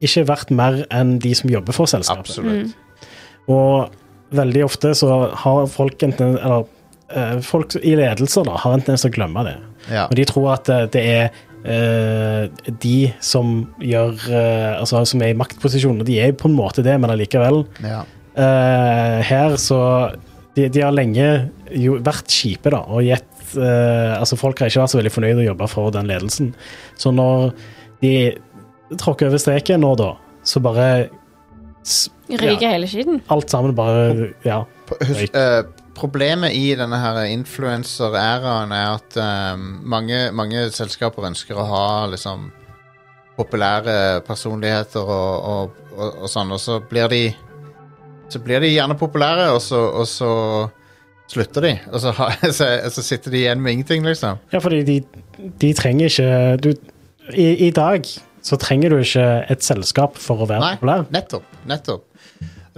ikke verdt mer enn de som jobber for selskapet. Absolutt. Og veldig ofte så har folk enten Eller eh, folk i ledelser da har en tendens til å glemme det. Ja. Og de tror at eh, det er eh, de som gjør eh, Altså som er i maktposisjon, og de er jo på en måte det, men allikevel ja. Eh, her så de, de har lenge jo vært kjipe, da, og gitt eh, Altså, folk har ikke vært så veldig fornøyde å jobbe for den ledelsen. Så når de tråkker over streken nå, da, så bare s- Ryker Ja. hele skiten. Alt sammen bare Ja. P- Husk, eh, problemet i denne her influencer-æraen er at eh, mange, mange selskaper ønsker å ha liksom populære personligheter og, og, og, og sånn, og så blir de så blir de gjerne populære, og så, og så slutter de. Og så, har- så, så sitter de igjen med ingenting, liksom. Ja, fordi de, de trenger ikke du, i, I dag så trenger du ikke et selskap for å være Nei, populær. nettopp. nettopp.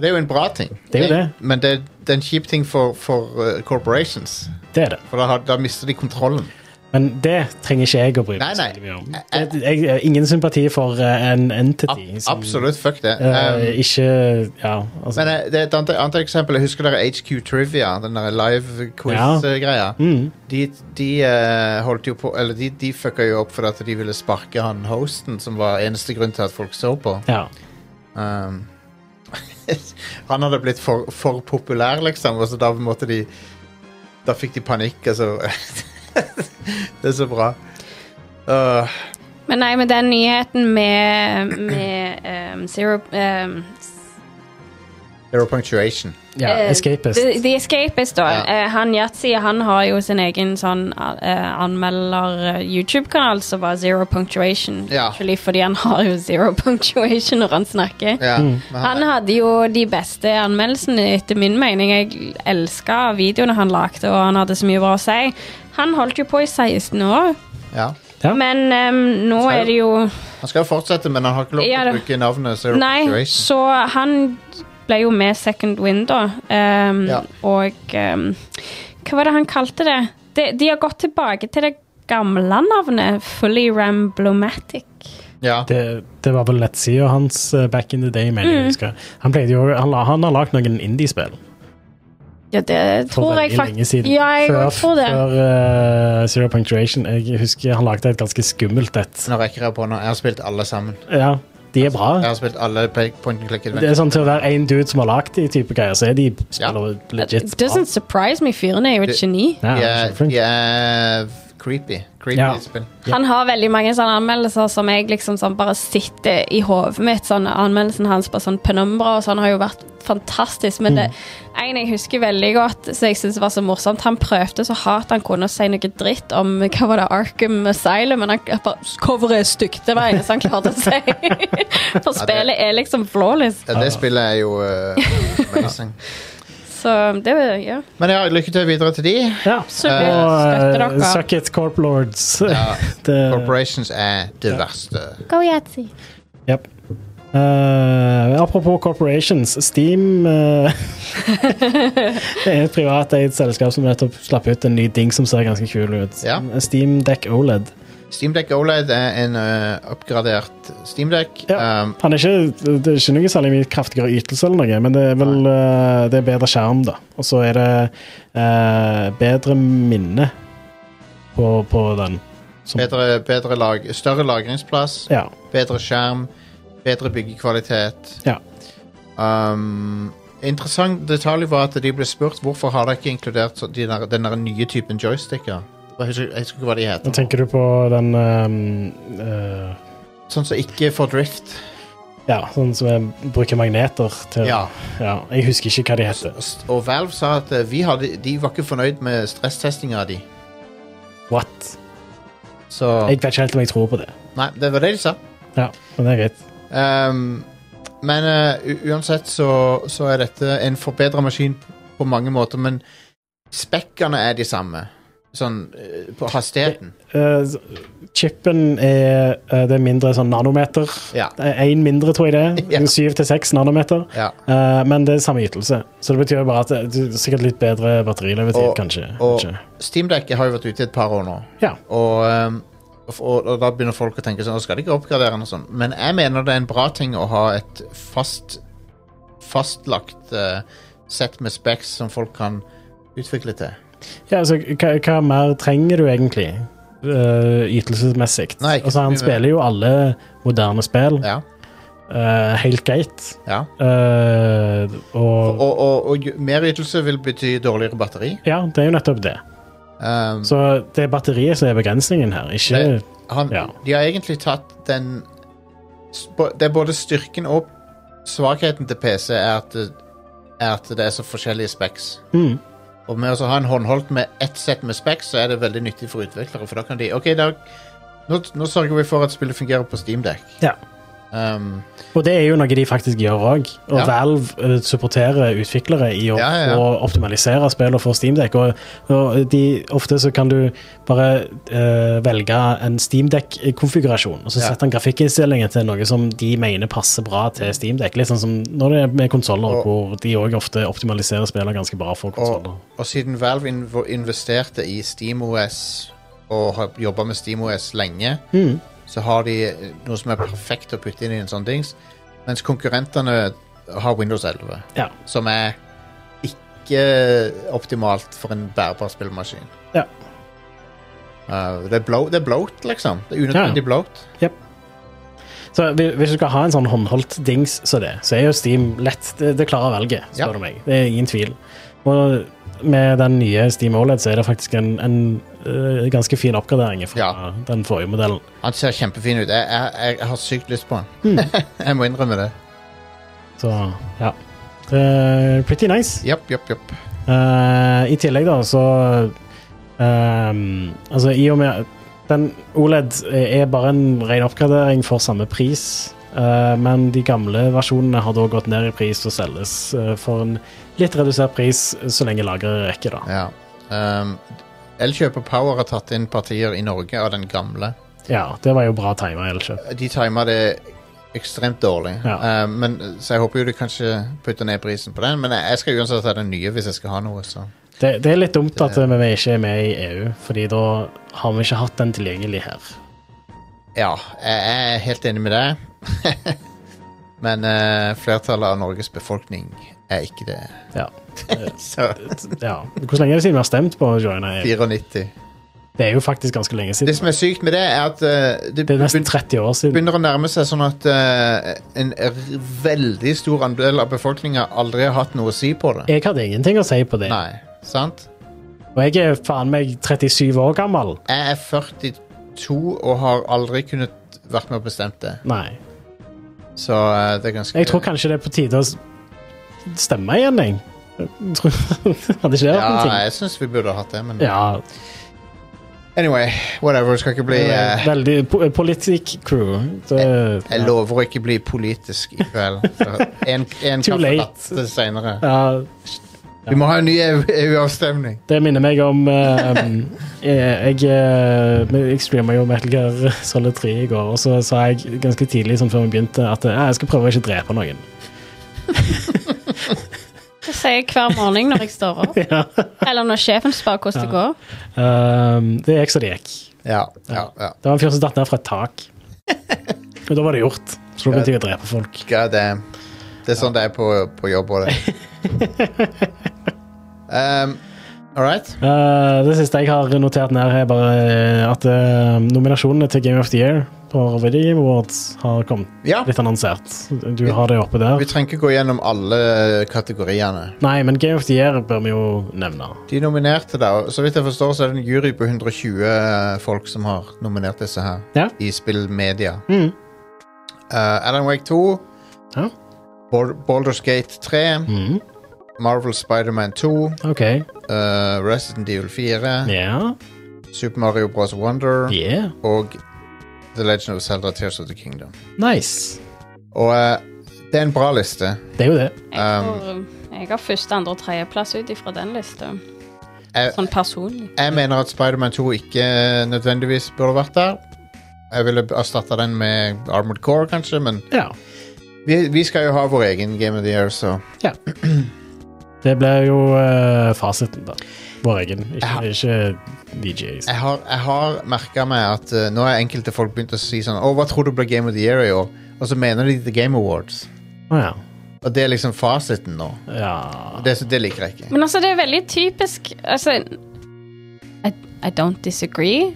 Det er jo en bra ting, Det er jo det. men det, det er en kjip ting for, for eh, corporations. Det er det. For da, har, da mister de kontrollen. Men det trenger ikke jeg å bry meg Nei, så nei. veldig mye om. Eh, eh. Jeg, jeg, har ingen sympati for eh, en entity Ab- som absolutt, fuck det. Um, Eh, ikke Ja, altså Men eh, det er et annet, annet eksempel. Jeg husker dere HQ Trivia, den der live quiz-greia. mm, De, de eh, holdt jo på Eller de, de fucka jo opp fordi at de ville sparke han hosten, som var eneste grunn til at folk så på. ja. Um, han hadde blitt for, for populær, liksom, og så da måtte de Da fikk de panikk, altså. det er så bra. Uh, Men nei, med den nyheten med, med ehm, Zero ehm, zero punctuation. ja eh, Escapist. The, the Escapist, da. Ja. Eh, han Yatzy han har jo sin egen sånn eh, anmelder-YouTube-kanal som var Zero Punctuation. Ja. Actually, fordi han har jo zero punctuation når han snakker. Ja, Mm. men Han hadde jo de beste anmeldelsene, etter min mening. Jeg elska videoene han lagde, og han hadde så mye bra å si. Han holdt jo på i 16 år, ja. Ja. men ehm, nå Så- er det jo han skal jo fortsette, men han har ikke lov til Ja, å det- bruke navnet Zero Nei, Punctuation. så han ble jo med Second Wind, da. ehm, Ja. Og ehm, hva var det han kalte det? De, de har gått tilbake til det gamle navnet. Fully Ramblomatic. Ja. det, det var vel nettsida Mm. hans eh, back in the day, mener jeg. husker. Han, pleide jo, han, la- han har lagd noen indiespill. Ja, det for tror jeg veldig lenge faktisk. siden. Ja, jeg før tror det. før eh, Zero Punctuation. Jeg husker han lagde et ganske skummelt et. Nå rekker jeg opp hånda. Jeg har spilt alle sammen. Ja, de er bra. Jeg har spilt alle pe- point and click Det adventures. er sånn Til å være én dude som har lagd de type greier, så er de spiller legit It doesn't surprise me. Fyren er jo et Det- geni. De Ja, han er er, kjempeflink. de er creepy. Creepy Ja. spill. Ja. Han har veldig mange sånne anmeldelser som jeg liksom sånn bare sitter i hodet mitt. Sånn, anmeldelsen hans på sånn penumbra og sånn har jo vært fantastisk. Men det en jeg husker veldig godt, som jeg synes var så morsomt Han prøvde så hardt han kunne å si noe dritt om hva var det, Arkham Asylum, men han bare Coveret er stygt! Det var det eneste han klarte å si. For spillet er liksom flawless. Ja, det spillet er jo eh, amazing. Så det ja. Men ja, lykke til videre til de. Ja. Så Eh, vi Og støtter uh, dere. Suck it, Corp Lords. Ja, det, Corporations er det verste. Go Yatzy. Yep. Eh, apropos corporations. Steam eh, er et privateid selskap som nettopp slapp ut en ny ding som ser ganske kul ut. Ja. Steam Deck E OLED. Steamdeck OLED er en eh, oppgradert Steamdeck. Ja. Um, Han er ikke, det er ikke noe særlig mye kraftigere ytelse, eller noe, men det er vel eh, det er bedre skjerm. da. Og så er det eh, bedre minne på, på den. Som- bedre, bedre lag, større lagringsplass, Ja. bedre skjerm, bedre byggekvalitet. ja. Um, interessant detalj var at de ble spurt hvorfor har dere ikke inkludert så- de der, den der nye typen joysticker. Jeg husker, jeg husker ikke hva de Nå heter. tenker du på den eh, eh, Sånn som ikke får drift. Ja, sånn som jeg bruker magneter til. Ja. Ja, jeg husker ikke hva de heter. Og, og Valve sa at eh, vi hadde, de var ikke fornøyd med stresstestinga di. What? Så Jeg vet ikke helt om jeg tror på det. Nei, det var det de sa. Ja, men det er greit. Um, men eh, u- uansett så, så er dette en forbedra maskin p- på mange måter, men spekkene er de samme. Sånn eh, på hastigheten. Eh, s- chipen er eh, Det er mindre sånn nanometer. Ja. Én mindre, tror jeg det. Ja. er. Syv til seks nanometer. Ja. Eh, men det er samme ytelse, så det betyr jo bare at det- det er sikkert litt bedre batterilevetid, Og- kanskje. Og Ikke. Steamdekket har jo vært ute i et par år nå, Ja. og, um, og, f- og, og da begynner folk å tenke sånn «Å, Skal de ikke oppgradere den og sånn? Men jeg mener det er en bra ting å ha et fast fastlagt eh, sett med specs som folk kan utvikle til. ja, altså, hva, hva mer trenger du egentlig eh, ytelsesmessig? Nei, ikke Altså, så han mye spiller jo alle moderne spill Ja. eh, helt greit. ja. Eh, og, Og, og, og jo- mer ytelse vil bety dårligere batteri. Ja, det er jo nettopp det. Um, Så det er batteriet som er begrensningen her, ikke Det- han, Ja. De har egentlig tatt den sp- Det er både styrken og svakheten til PC er at det, er at det er så forskjellige specs. mm, Og med å ha en håndholdt med ett sett med specs, så er det veldig nyttig for utviklere. For da kan de OK, da, nå, nå sørger vi for at spillet fungerer på Steamdeck. Ja. Um, Og det er jo noe de faktisk gjør òg. Og Ja. Valve eh, supporterer utviklere i å, Ja, ja, ja. å optimalisere spill og få Steamdeck. Og, og de, ofte så kan du bare eh, velge en Steamdeck-konfigurasjon, og så Ja. setter han grafikkinnstillingen til noe som de mener passer bra til Steamdeck. Litt sånn som når det er med konsoller, Og- hvor de òg ofte optimaliserer spillene ganske bra for og, konsoller. og siden Valve inv investerte i SteamOS og har jobba med SteamOS lenge, Mm. så har de eh, noe som er perfekt å putte inn i en sånn dings. Mens konkurrentene har Windows 11. Ja. som er ikke optimalt for en bærbar spillmaskin. Ja. Uh, det, er bloat, det er bloat, liksom. Det er unødvendig Ja. bloat. Så hvi- hvis du skal ha en sånn håndholdt dings som det, så er jo Steam lett. Det, det klarer valget, spør Ja. du meg. Det er ingen tvil. Og med den nye Steam OLED så er det faktisk en, en øh, ganske fin oppgradering fra Ja. den forrige modellen. Han ser kjempefin ut. Jeg, jeg, jeg har sykt lyst på han. Hmm. jeg må innrømme det. Så ja. Eh, pretty nice. Japp, japp, japp. Eh, I tillegg, da, så ehm, Altså, i og med at Den OLED er bare en ren oppgradering for samme pris, eh, men de gamle versjonene har da gått ned i pris og selges eh, for en litt redusert pris så lenge lageret rekker, da. Ja. Um, Elkjøp og Power har tatt inn partier i Norge av den gamle. Ja, det var jo bra tima, Elkjøp. De timer det ekstremt dårlig. Ja. Uh, men, så jeg håper jo du kanskje putter ned prisen på den. Men jeg, jeg skal uansett ha den nye hvis jeg skal ha noe. Så. Det, det er litt dumt Det- at eh, vi ikke er med i EU, fordi da har vi ikke hatt den tilgjengelig her. Ja, jeg er helt enig med deg. Men eh, flertallet av Norges befolkning er ikke det. Ja. Så ja. Hvor lenge er det siden vi har stemt på å joine? EU? 94. Det er jo faktisk ganske lenge Det siden. som er sykt med det, er at eh, det Det er nesten begyn- 30 år siden. begynner å nærme seg sånn at eh, en r- veldig stor andel av befolkninga aldri har hatt noe å si på det. Jeg hadde ingenting å si på det. Nei, sant? Og jeg er faen meg 37 år gammel. Jeg er 42 og har aldri kunnet vært med og bestemt det. Nei. Så eh, det er ganske Jeg tror kanskje det er på tide å s- stemme igjen, jeg. Jeg tror- Hadde ikke det vært Ja, noen ting? jeg syns vi burde hatt det, men Ja. Anyway, whatever. Skal ikke bli eh, Veldig po politikk-crew. Det- Jeg lover å ikke bli politisk i kveld. Så En, en Too kaffe late. latte senere. Ja, Vi må ha en ny EU- EU-avstemning. det minner meg om eh, um, Jeg, jeg, eh, jeg streama jo Metal Gear Solid 3 i går, og så sa jeg ganske tidlig sånn før vi begynte, at eh, jeg skal prøve å ikke drepe noen. Det sier jeg hver morgen når jeg står opp. Ja. Eller når sjefen spør hvordan det går. Um, det gikk som det gikk. Ja, ja, ja. Det var en fyr som datt ned fra et tak. Og da var det gjort. Så da begynte jeg å drepe folk. God damn. Det er sånn det er på, på jobb og det. Um, All right. Eh, det siste jeg har notert ned, er bare at eh, nominasjonene til Game of the Year på Video Game Awards har kommet Ja. litt annonsert. Du har det oppe der. Vi trenger ikke gå gjennom alle kategoriene. Nei, men Game of the Year bør vi jo nevne. De nominerte, da. og Så vidt jeg forstår, så er det en jury på 120 eh, folk som har nominert disse her. Ja. I spillmedia. Mm. Uh, Alan Wake 2. Ja. Bal- Baldur's Gate 3. Mm. Marvel Spiderman 2. OK. Uh, Resident Evil 4. Ja. Super Mario Bros. Wonder. Yeah. Og The Legend of Zelda Tears of the Kingdom. Nice. Og uh, det er en bra liste. Det er jo det. Um, Jeg, tror, um, jeg har første, andre og tredjeplass ut ifra den lista. Jeg, Sånn personlig. jeg mener at Spiderman 2 ikke eh, nødvendigvis burde vært der. Jeg ville erstatta den med Armored Core, kanskje, men Ja. vi, vi skal jo ha vår egen Game of the Year, så Det blir jo eh, fasiten, da. Vår egen. Ikke, ikke DJs. Jeg har, jeg har merka meg at eh, nå har enkelte folk begynt å si sånn Å, hva tror du blir Game of the Year i år? Og så mener de The Game Awards. Å ja. Og det er liksom fasiten nå. ja. Det, det liker jeg ikke. Men altså, det er veldig typisk Altså I, I don't disagree.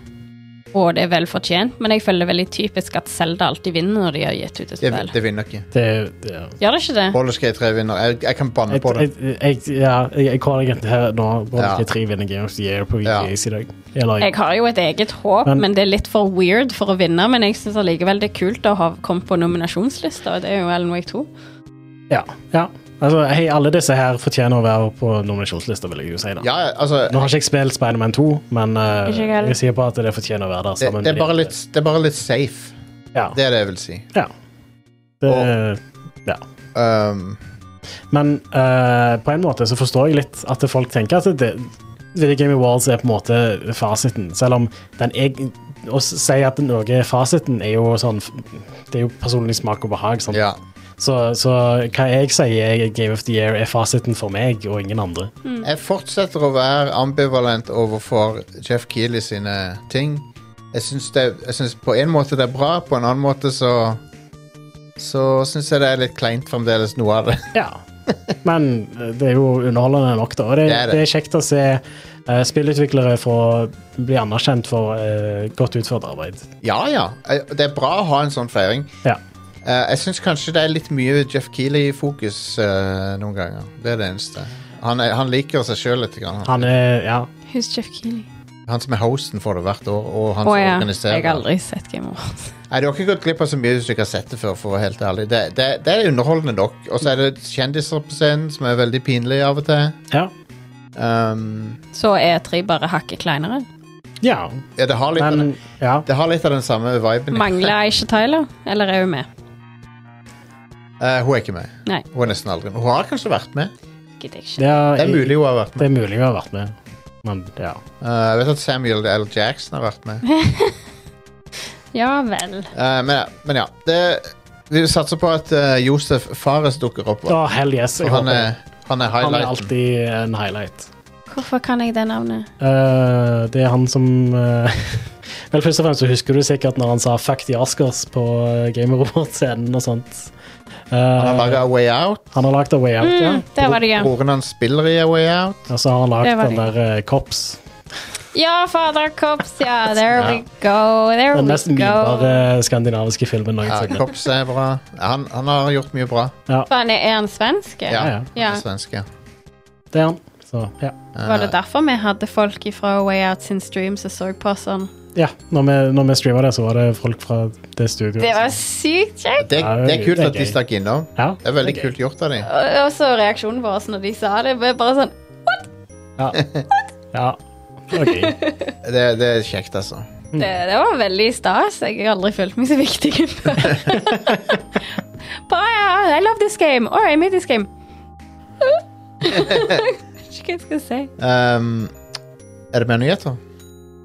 Og det er vel fortjent, men jeg føler det er veldig typisk at Selda alltid vinner når de har gitt ut et Det, spill. det vinner ikke. Det, det ja. Gjør det ikke det? Baldur's Gate 3 vinner. Jeg, jeg kan banne Jeg, på det. jeg, jeg, ja, jeg, jeg caller egentlig her nå Ja. Broderick ja. 3 vinner Game of the Year på VGAs i dag. Eller, Jeg har jo et eget håp, Men- men, det er litt for weird for å vinne. Men jeg syns allikevel det er kult å ha kommet på nominasjonslista, og det er jo Alan Wake 2. ja, ja. Altså, hei, alle disse her fortjener å være på nominasjonslista, vil jeg jo si. da. Ja, altså Nå har ikke jeg spilt Spiderman 2, men eh, Ikke jeg heller. jeg sier bare at det fortjener å være der. det, sammen det, er med de bare andre. litt, det er bare litt safe. Ja. Det er det jeg vil si. ja. Det, ja. Um, Men eh, på en måte så forstår jeg litt at folk tenker at det, Video Game Awards er på en måte fasiten, selv om den eg- å s- si at noe er fasiten, er jo sånn Det er jo personlig smak og behag. sant? ja. Så, så hva jeg sier er Game of the Year, er fasiten for meg og ingen andre. Jeg fortsetter å være ambivalent overfor Jeff Keeley sine ting. Jeg syns, det, jeg syns på en måte det er bra, på en annen måte så Så syns jeg det er litt kleint fremdeles, noe av det. Ja. Men eh, det er jo underholdende nok, da. Og det, Det det, er er, det. kjekt å se eh, spillutviklere få bli anerkjent for eh, godt utført arbeid. Ja ja, jeg- det er bra å ha en sånn feiring. Ja. Eh, Jeg syns kanskje det er litt mye Jeff Keeley-fokus eh, noen ganger. Det er det eneste. Han, er, han liker seg sjøl litt. Grann. Han er Ja. Who's Jeff Keeley? Han som er hosten for det hvert år, og han Å som ja. organiserer. Jeg har aldri sett Game Awards. Nei, Du har ikke gått glipp av så mye hvis du ikke har sett det før. for å være helt ærlig. Det, det, det er underholdende nok. Og så er det kjendiser på scenen som er veldig pinlige av og til. Ja. Um, Så er tre bare hakket kleinere. ja. ja, det har, litt av, Men ja. det har litt av den samme viben. Mangler Aisha Tyler, eller er hun med? Eh, hun er ikke med. Nei. Hun er nesten aldri med. Hun har kanskje vært med. Gidder jeg ikke. Det er, Det er mulig hun har vært med. Det er mulig hun har vært med. Men ja. Eh, jeg vet at Samuel L. Jackson har vært med. Ja vel. Eh, men, ja, men ja. Det, vi satser på at eh, Josef Fares dukker opp. Å, hell yes. For Jeg han håper er, det. han er han er highlighten. alltid en highlight. Hvorfor kan jeg det navnet? Eh, det er han som eh, Vel, først og fremst så husker du sikkert når han sa 'fuck the Oscars' på eh, Game Award-scenen og sånt. Eh, Han har laga Way Out. Han har lagd A Way Out, ja. Mm, det var det gøy. Broren hans spiller i A Way Out. Og så har han Det lagd var den det. der eh, Cops. Ja, Fader Kops, ja. There we go. There Den we mest go. mimere skandinaviske filmen Ja, noensinne. Kops er bra. Ja, han, han har gjort mye bra. Faen, er han svensk? Ja, Ja, ja. Han Ja. er svenske. Det er han. Så, ja. Var det derfor vi hadde folk fra Way Out sin stream som så på oss sånn? ja når, vi, når vi streama det, så var det folk fra det studioet. Det var så- sykt kjekt! Det, Ja, det er det er kult gøy. at de stakk innom. ja, Det er veldig det er gøy. kult gjort av dem. Og og så reaksjonen vår når de sa det. var Bare sånn Ja. ja. Ok. Det, det er kjekt, altså. Det, det var veldig stas. Jeg har aldri følt meg så viktig før. Bare, ja, I love this game. Or I made this game. Ikke hva jeg skal si. Um, er det mer nyheter?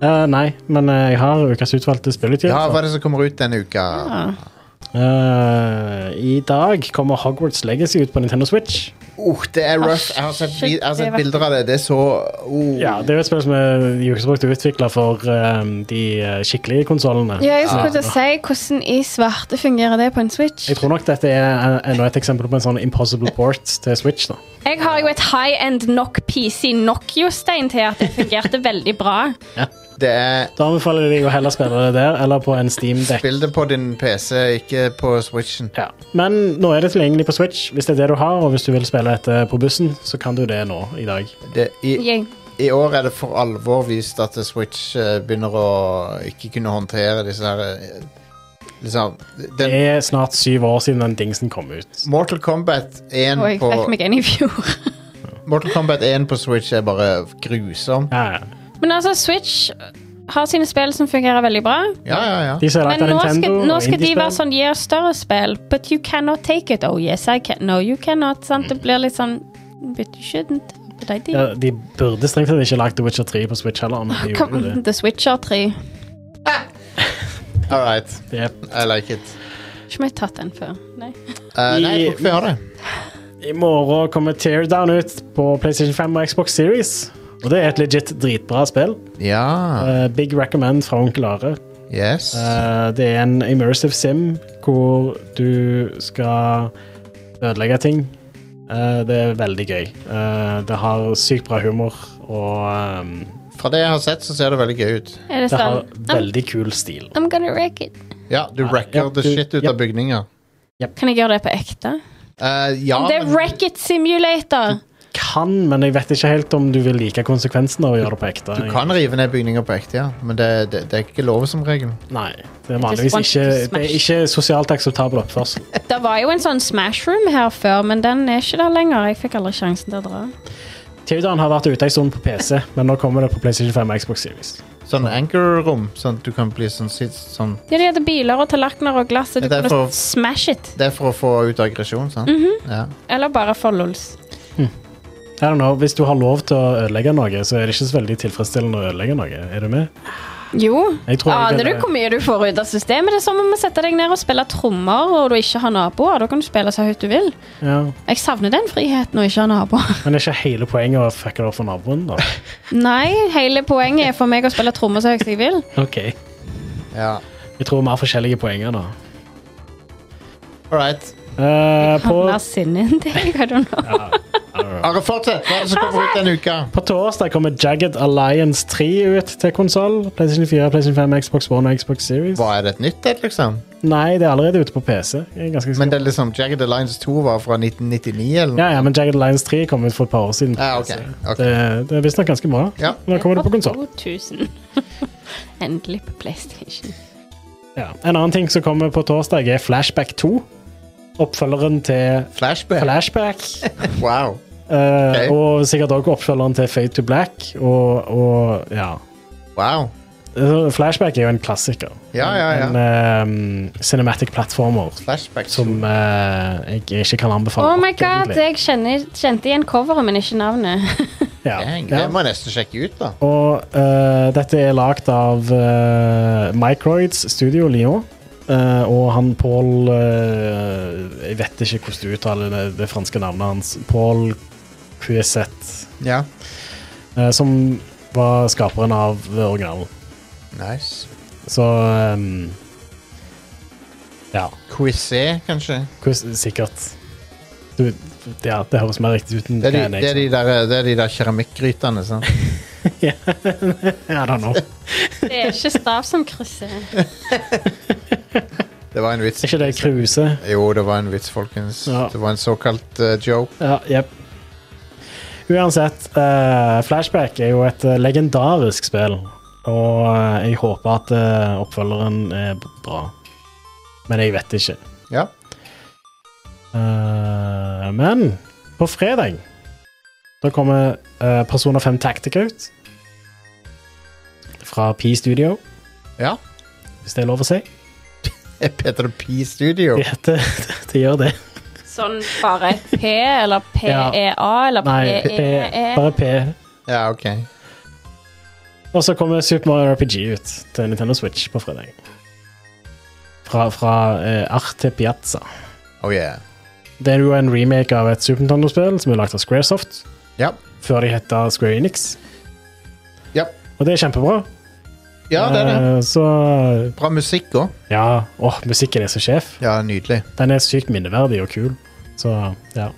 Eh, nei, men eh, jeg har ukas utvalgte Ja, spillutgivelser. hva er det som kommer ut denne uka? Ah. Eh, I dag kommer Hogwarts Legacy ut på Nintendo Switch. Uh, det er rough. Jeg har sett, vi- jeg har sett bilder av det. Det er så uh. Ja, Det er jo et spill som er i utgangspunktet utvikla for eh, de eh, skikkelige konsollene. Ja, jeg skulle til å si hvordan i svarte fungerer det på en Switch. Ah. Jeg tror nok dette er en- enda et eksempel på en sånn impossible port til Switch. da. Jeg har jo et high-end nok PC nok, Jostein, til at det fungerte veldig bra. Det er Da anbefaler jeg deg å heller spille det der, eller på en Steam-dekk. Spill det på din PC, ikke på Switchen. Ja. Men nå er det tilgjengelig på Switch, hvis det er det du har, og hvis du vil spille dette på bussen, så kan du det nå i dag. Det, i, Jeg, I år er det for alvor vist at Switch eh, begynner å ikke kunne håndtere disse her eh, Liksom Det den, er snart syv år siden den dingsen kom ut. Mortal Kombat 1 Mm, og jeg på fikk meg en i fjor. Mortal Kombat 1 på Switch er bare grusom. Ja, ja. Men altså, Switch har sine spill som fungerer veldig bra. Ja, ja, ja. De som er lagt Men av nå Nintendo skal, nå og skal de være indiespill. sånn Gi oss større spill, but you cannot take it. Oh yes, I can. No, you cannot. Sant? Det blir litt sånn But you shouldn't. But I did. Ja, de burde strengt tatt ikke lagt The Witcher 3 på Switch heller, men de Kom, gjorde jo det. The Switcher 3. All right. Yep. I like it. Ikke vi tatt den før. Nei. Eh, nei, jeg tror ikke vi har det. I morgen kommer Teardown ut på PlayStation 5 og Xbox Series. Og det er et legit dritbra spill. Ja. Eh, big recommend fra onkel Are. Yes. Eh, det er en immersive sim hvor du skal ødelegge ting. Eh, det er veldig gøy. Eh, det har sykt bra humor, og ehm, Fra det jeg har sett, så ser det veldig gøy ut. Er det det sånn har I'm, veldig kul stil. I'm gonna wreck it. Ja, du ja, wrecker the du- shit ut ja. av bygninger. Kan jeg gjøre det på ekte? Eh, ja, Om det er men Wreck It Simulator! Kan, men jeg vet ikke helt om du vil like konsekvensen av å gjøre det på ekte. du kan rive ned bygninger på ekte, ja. Men det, det, det er ikke lov som regel. Nei, det er vanligvis want ikke, to det er ikke sosialt akseptabel oppførsel. Det var jo en sånn Smash Room her før, men den er ikke der lenger. Jeg fikk aldri sjansen til å dra. Teardown har vært ute en stund på PC, men nå kommer det på PlayStation 5 og Xbox Series. Sånn anchor-rom, sånn at du kan bli sånn, sit- sånn Ja, de hadde biler og tallerkener og glass, og du Det er kunne for- smash it. Det er for å få ut aggresjon, sant? Mhm. ja. Eller bare for lols. I don't know, Hvis du har lov til å ødelegge noe, så er det ikke så veldig tilfredsstillende å ødelegge noe. Er du med? Jo. Jeg eh, tror jeg Aner du ville- hvor mye du får ut av systemet? Det er som om å sette deg ned og spille trommer, og du ikke har naboer. Da kan du spille så høyt du vil. Ja. Jeg savner den friheten å ikke ha naboer. Men er ikke hele poenget å fucke det opp for naboen, da? Nei, hele poenget er for meg å spille trommer så høyt jeg vil. Ok. ja. Jeg tror vi har forskjellige poenger, da. All right. Eh, på, Han er sinnet deg, I don't know. Are, fortsett! Hva er det som kommer ut denne uka? på torsdag kommer Jagged Alliance 3 ut til konsoll. PlayStation 4, PlayStation 5, Xbox One og Xbox Series. Hva er det et nytt et, liksom? Nei, det er allerede ute på PC. Jeg er ganske sikker. Men det er liksom Jagged Alliance 2 var fra 1999, eller noe? Ja, ja, men Jagged Alliance 3 kom ut for et par år siden. på Ja, PC. Ah, ok, ok. eh, Det, det er visstnok ganske bra. Ja. Nå kommer det på konsoll. 2000. Endelig på PlayStation. Ja. En annen ting som kommer på torsdag, er Flashback 2. Oppfølgeren til Flashback. Flashback. Wow. eh, Ok. Og sikkert også oppfølgeren til Fade to Black. Og, og ja Wow. Eh, Flashback er jo en klassiker. Ja, ja, ja. En ehm, cinematic platformer Flashback. som eh, jeg ikke kan anbefale. Oh my nok, god, egentlig. jeg kjenner, kjente igjen coveret, men ikke navnet. Ja, Dang, ja. det må jeg nesten sjekke ut, da. Og eh, dette er lagd av eh, Microids Studio Lyon. Eh, og han Paul eh, Jeg vet ikke hvordan du uttaler det, det franske navnet hans. Paul Cuisette, Ja. eh, som var skaperen av originalen. Nice. Så ehm, eh, Ja. Quizé, E, kanskje? Quiz, sikkert. Du, ja, det høres mer riktig ut enn Det er de, Can Ace. det er de der, det er de der keramikkgrytene, sant? Ja, I don't know. Det er ikke stav som krysser. Det var en vits. Er ikke det kruse? Jo, det var en vits, folkens. Ja. Det var en såkalt eh, joke. Ja, jepp. Uansett, eh, Flashback er jo et eh, legendarisk spill, og eh, jeg håper at eh, oppfølgeren er b- bra. Men jeg vet ikke. Ja. Eh, men på fredag da kommer eh, Persona 5 Tactic ut. Fra P-Studio, ja. hvis det er lov å si. Jeg Peter P Studio. De, heter, de gjør det. Sånn bare et P, eller Ja. PEA, eller E Nei, P, E PEE. bare P. E Ja, ok. Og så kommer Super Mario RPG ut til Nintendo Switch på fredag. Fra, fra eh, Arte Piazza. Oh yeah. Det er jo en remake av et Super Nintendo-spill som er lagd av Squaresoft, Ja. før de heta Square Enix. Ja. Og det er kjempebra. ja, det er det. Eh, så Bra musikk òg. Ja. Åh, musikken er så sjef. Ja, nydelig. Den er sykt minneverdig og kul. Så ja.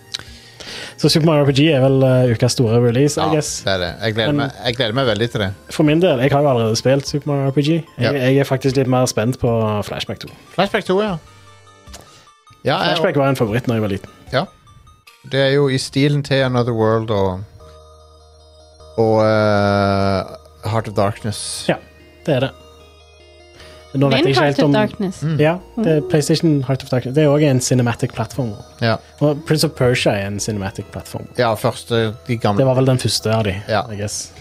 Så Super Mario RPG er vel eh, ukas store release, Ja, I guess. det er det. Jeg gleder, Men- meg, jeg gleder meg veldig til det. For min del, jeg har jo allerede spilt Super Mario RPG. Jeg, Ja. jeg er faktisk litt mer spent på Flashback 2. Flashback 2, ja. Ja, jeg- Flashback var en favoritt da jeg var liten. ja. Det er jo i stilen til Another World og Og eh, Heart of Darkness. Ja. Det er det. Nå vet Min jeg ikke helt Heart om of Mm. Darkness. Mm. Ja, det er PlayStation Heart of Darkness. Det er òg en cinematic platform. Ja. Og Prince of Persia er en cinematic platform. ja, første De Det gamle. var vel den første av de, Ja. I guess.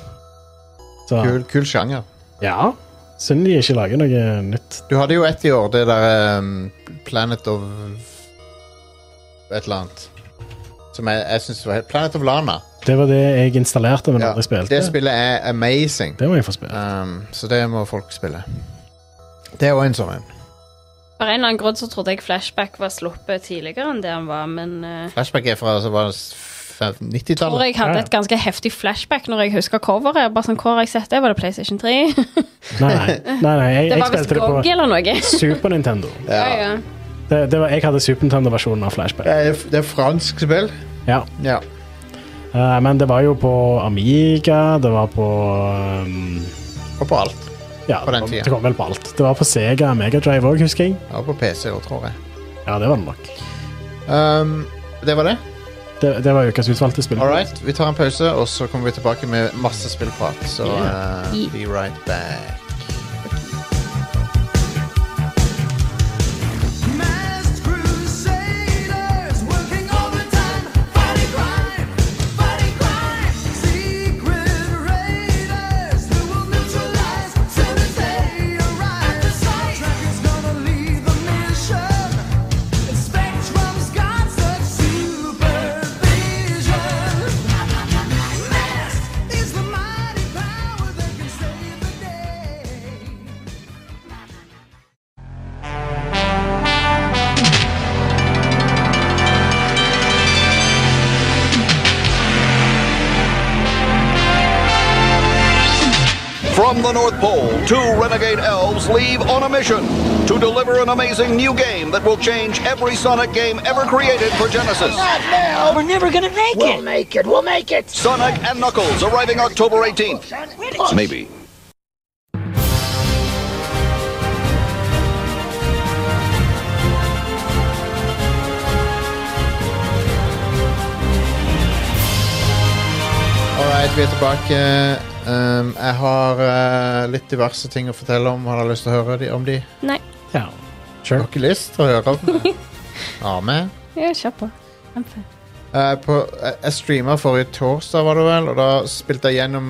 Så Kul, kul sjanger. ja. Synd de ikke lager noe nytt. Du hadde jo ett i år, det der ehm, Planet of Et eller annet. Som jeg, jeg syns var helt Planet of Lana. Det var det jeg installerte, men Ja, aldri spilte. Det spillet er amazing. Det må jeg få spille. Ehm, så det må folk spille. Det er òg en sånn en. For en eller annen grunn så trodde jeg Flashback var sluppet tidligere enn det han var, men eh, Flashback er fra altså, hva er det, f- tror 90-tallet. jeg hadde Ja, ja. et ganske heftig flashback når jeg husker coveret. Bare sånn, Hvor har jeg sett det? Var det PlayStation 3? Nei, nei, nei, nei jeg, Det var jeg visst spilte det GOG på eller noe. Super Nintendo. Ja, ja. Det, det var, jeg hadde Super Nintendo-versjonen av Flashback. Det er, det er fransk spill. Ja. Ja. Eh, men det var jo på Amiga, det var på um, Og på alt. Ja, På den det kom- tiden. det kom vel på alt. Det var på Sega Megadrive òg, husker jeg. Ja, på PC òg, tror jeg. Ja, det var det nok. Ehm, det var det. Det, det var ukas utvalgte spill. All right, vi tar en pause, og så kommer vi tilbake med masse spillprat. Så Yeah. eh, be right back. Masked crusaders working overtime, fighting crime, fighting crime. Secret raiders who will neutralize soon as they arrive. Tracker's gonna lead the mission. And Spectrum's got such supervision. Masked is the mighty power that can save the day. From the North Pole, two renegade elves leave on a mission to deliver an amazing new game that will change every Sonic game ever created for Genesis. We're never gonna make it. We'll make it. We'll make it. Sonic and Knuckles arriving October 18th. Maybe. Alright, vi er tilbake. Um, jeg har eh, litt diverse ting å fortelle om. Har dere lyst til å høre de, om de? Nei. Ja. Har Sure. ikke lyst til å høre om det? Ja, men. Ja, kjør på. Eh, på, jeg- jeg streama forrige torsdag, var det vel, og da spilte jeg gjennom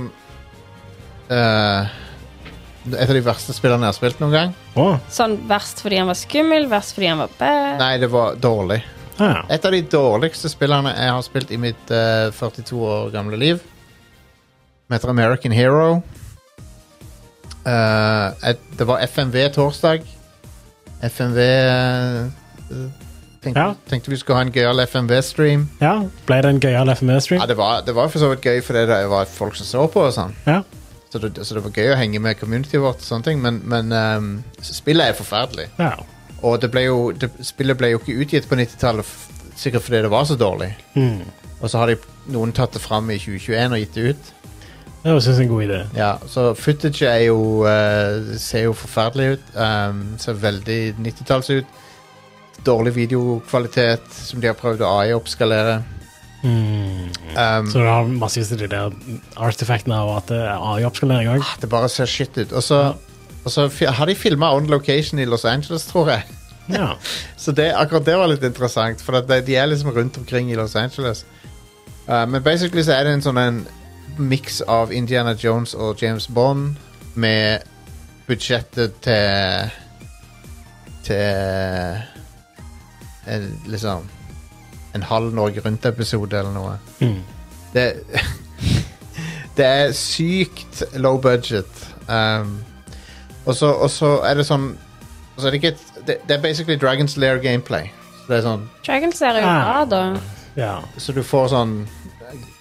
eh, et av de verste spillene jeg har spilt noen gang. Å, Sånn verst fordi han var skummel, verst fordi han var bad. Nei, det var dårlig. ja. Et av de dårligste spillene jeg har spilt i mitt eh, 42 år gamle liv. Den heter American Hero. Eh, et, det var FMV torsdag. FMV eh, tenkte, Ja. tenkte vi skulle ha en gøyal FMV-stream. ja. Ble det en gøyal FME-stream? Ja, det var, det var for så vidt gøy fordi det var folk som så på og sånn. Ja. Så det, så det var gøy å henge med communityet vårt og sånne ting, men, men ehm, spillet er forferdelig. ja. Og det ble jo, det, spillet ble jo ikke utgitt på 90-tallet, f- sikkert fordi det var så dårlig. Og så har de noen tatt det fram i 2021 og gitt det ut. Det var synes jeg er en god idé. Ja, Så footage er jo, eh, ser jo forferdelig ut. ehm, ser veldig 90-talls ut. Dårlig videokvalitet som de har prøvd å AI-oppskalere. Um, Så du har masse av de der artifaktene og at det er AI-oppskalering òg. Det bare ser shit ut. Og så, og så fi- har de filma on location i Los Angeles, tror jeg. Ja. Så det, akkurat det var litt interessant, for at de, de er liksom rundt omkring i Los Angeles. Uh, men basically så er det en sånn en mix av Indiana Jones og James Bond med budsjettet til til en, liksom en halv Norge Rundt-episode eller noe. Det, det er sykt low budget. Um, og så og så er det sånn Altså, det, er ikke et, det, det er basically Dragons Lair gameplay. Så, det er sånn, Dragon ser jo bra, Ah. da. ja. så du får sånn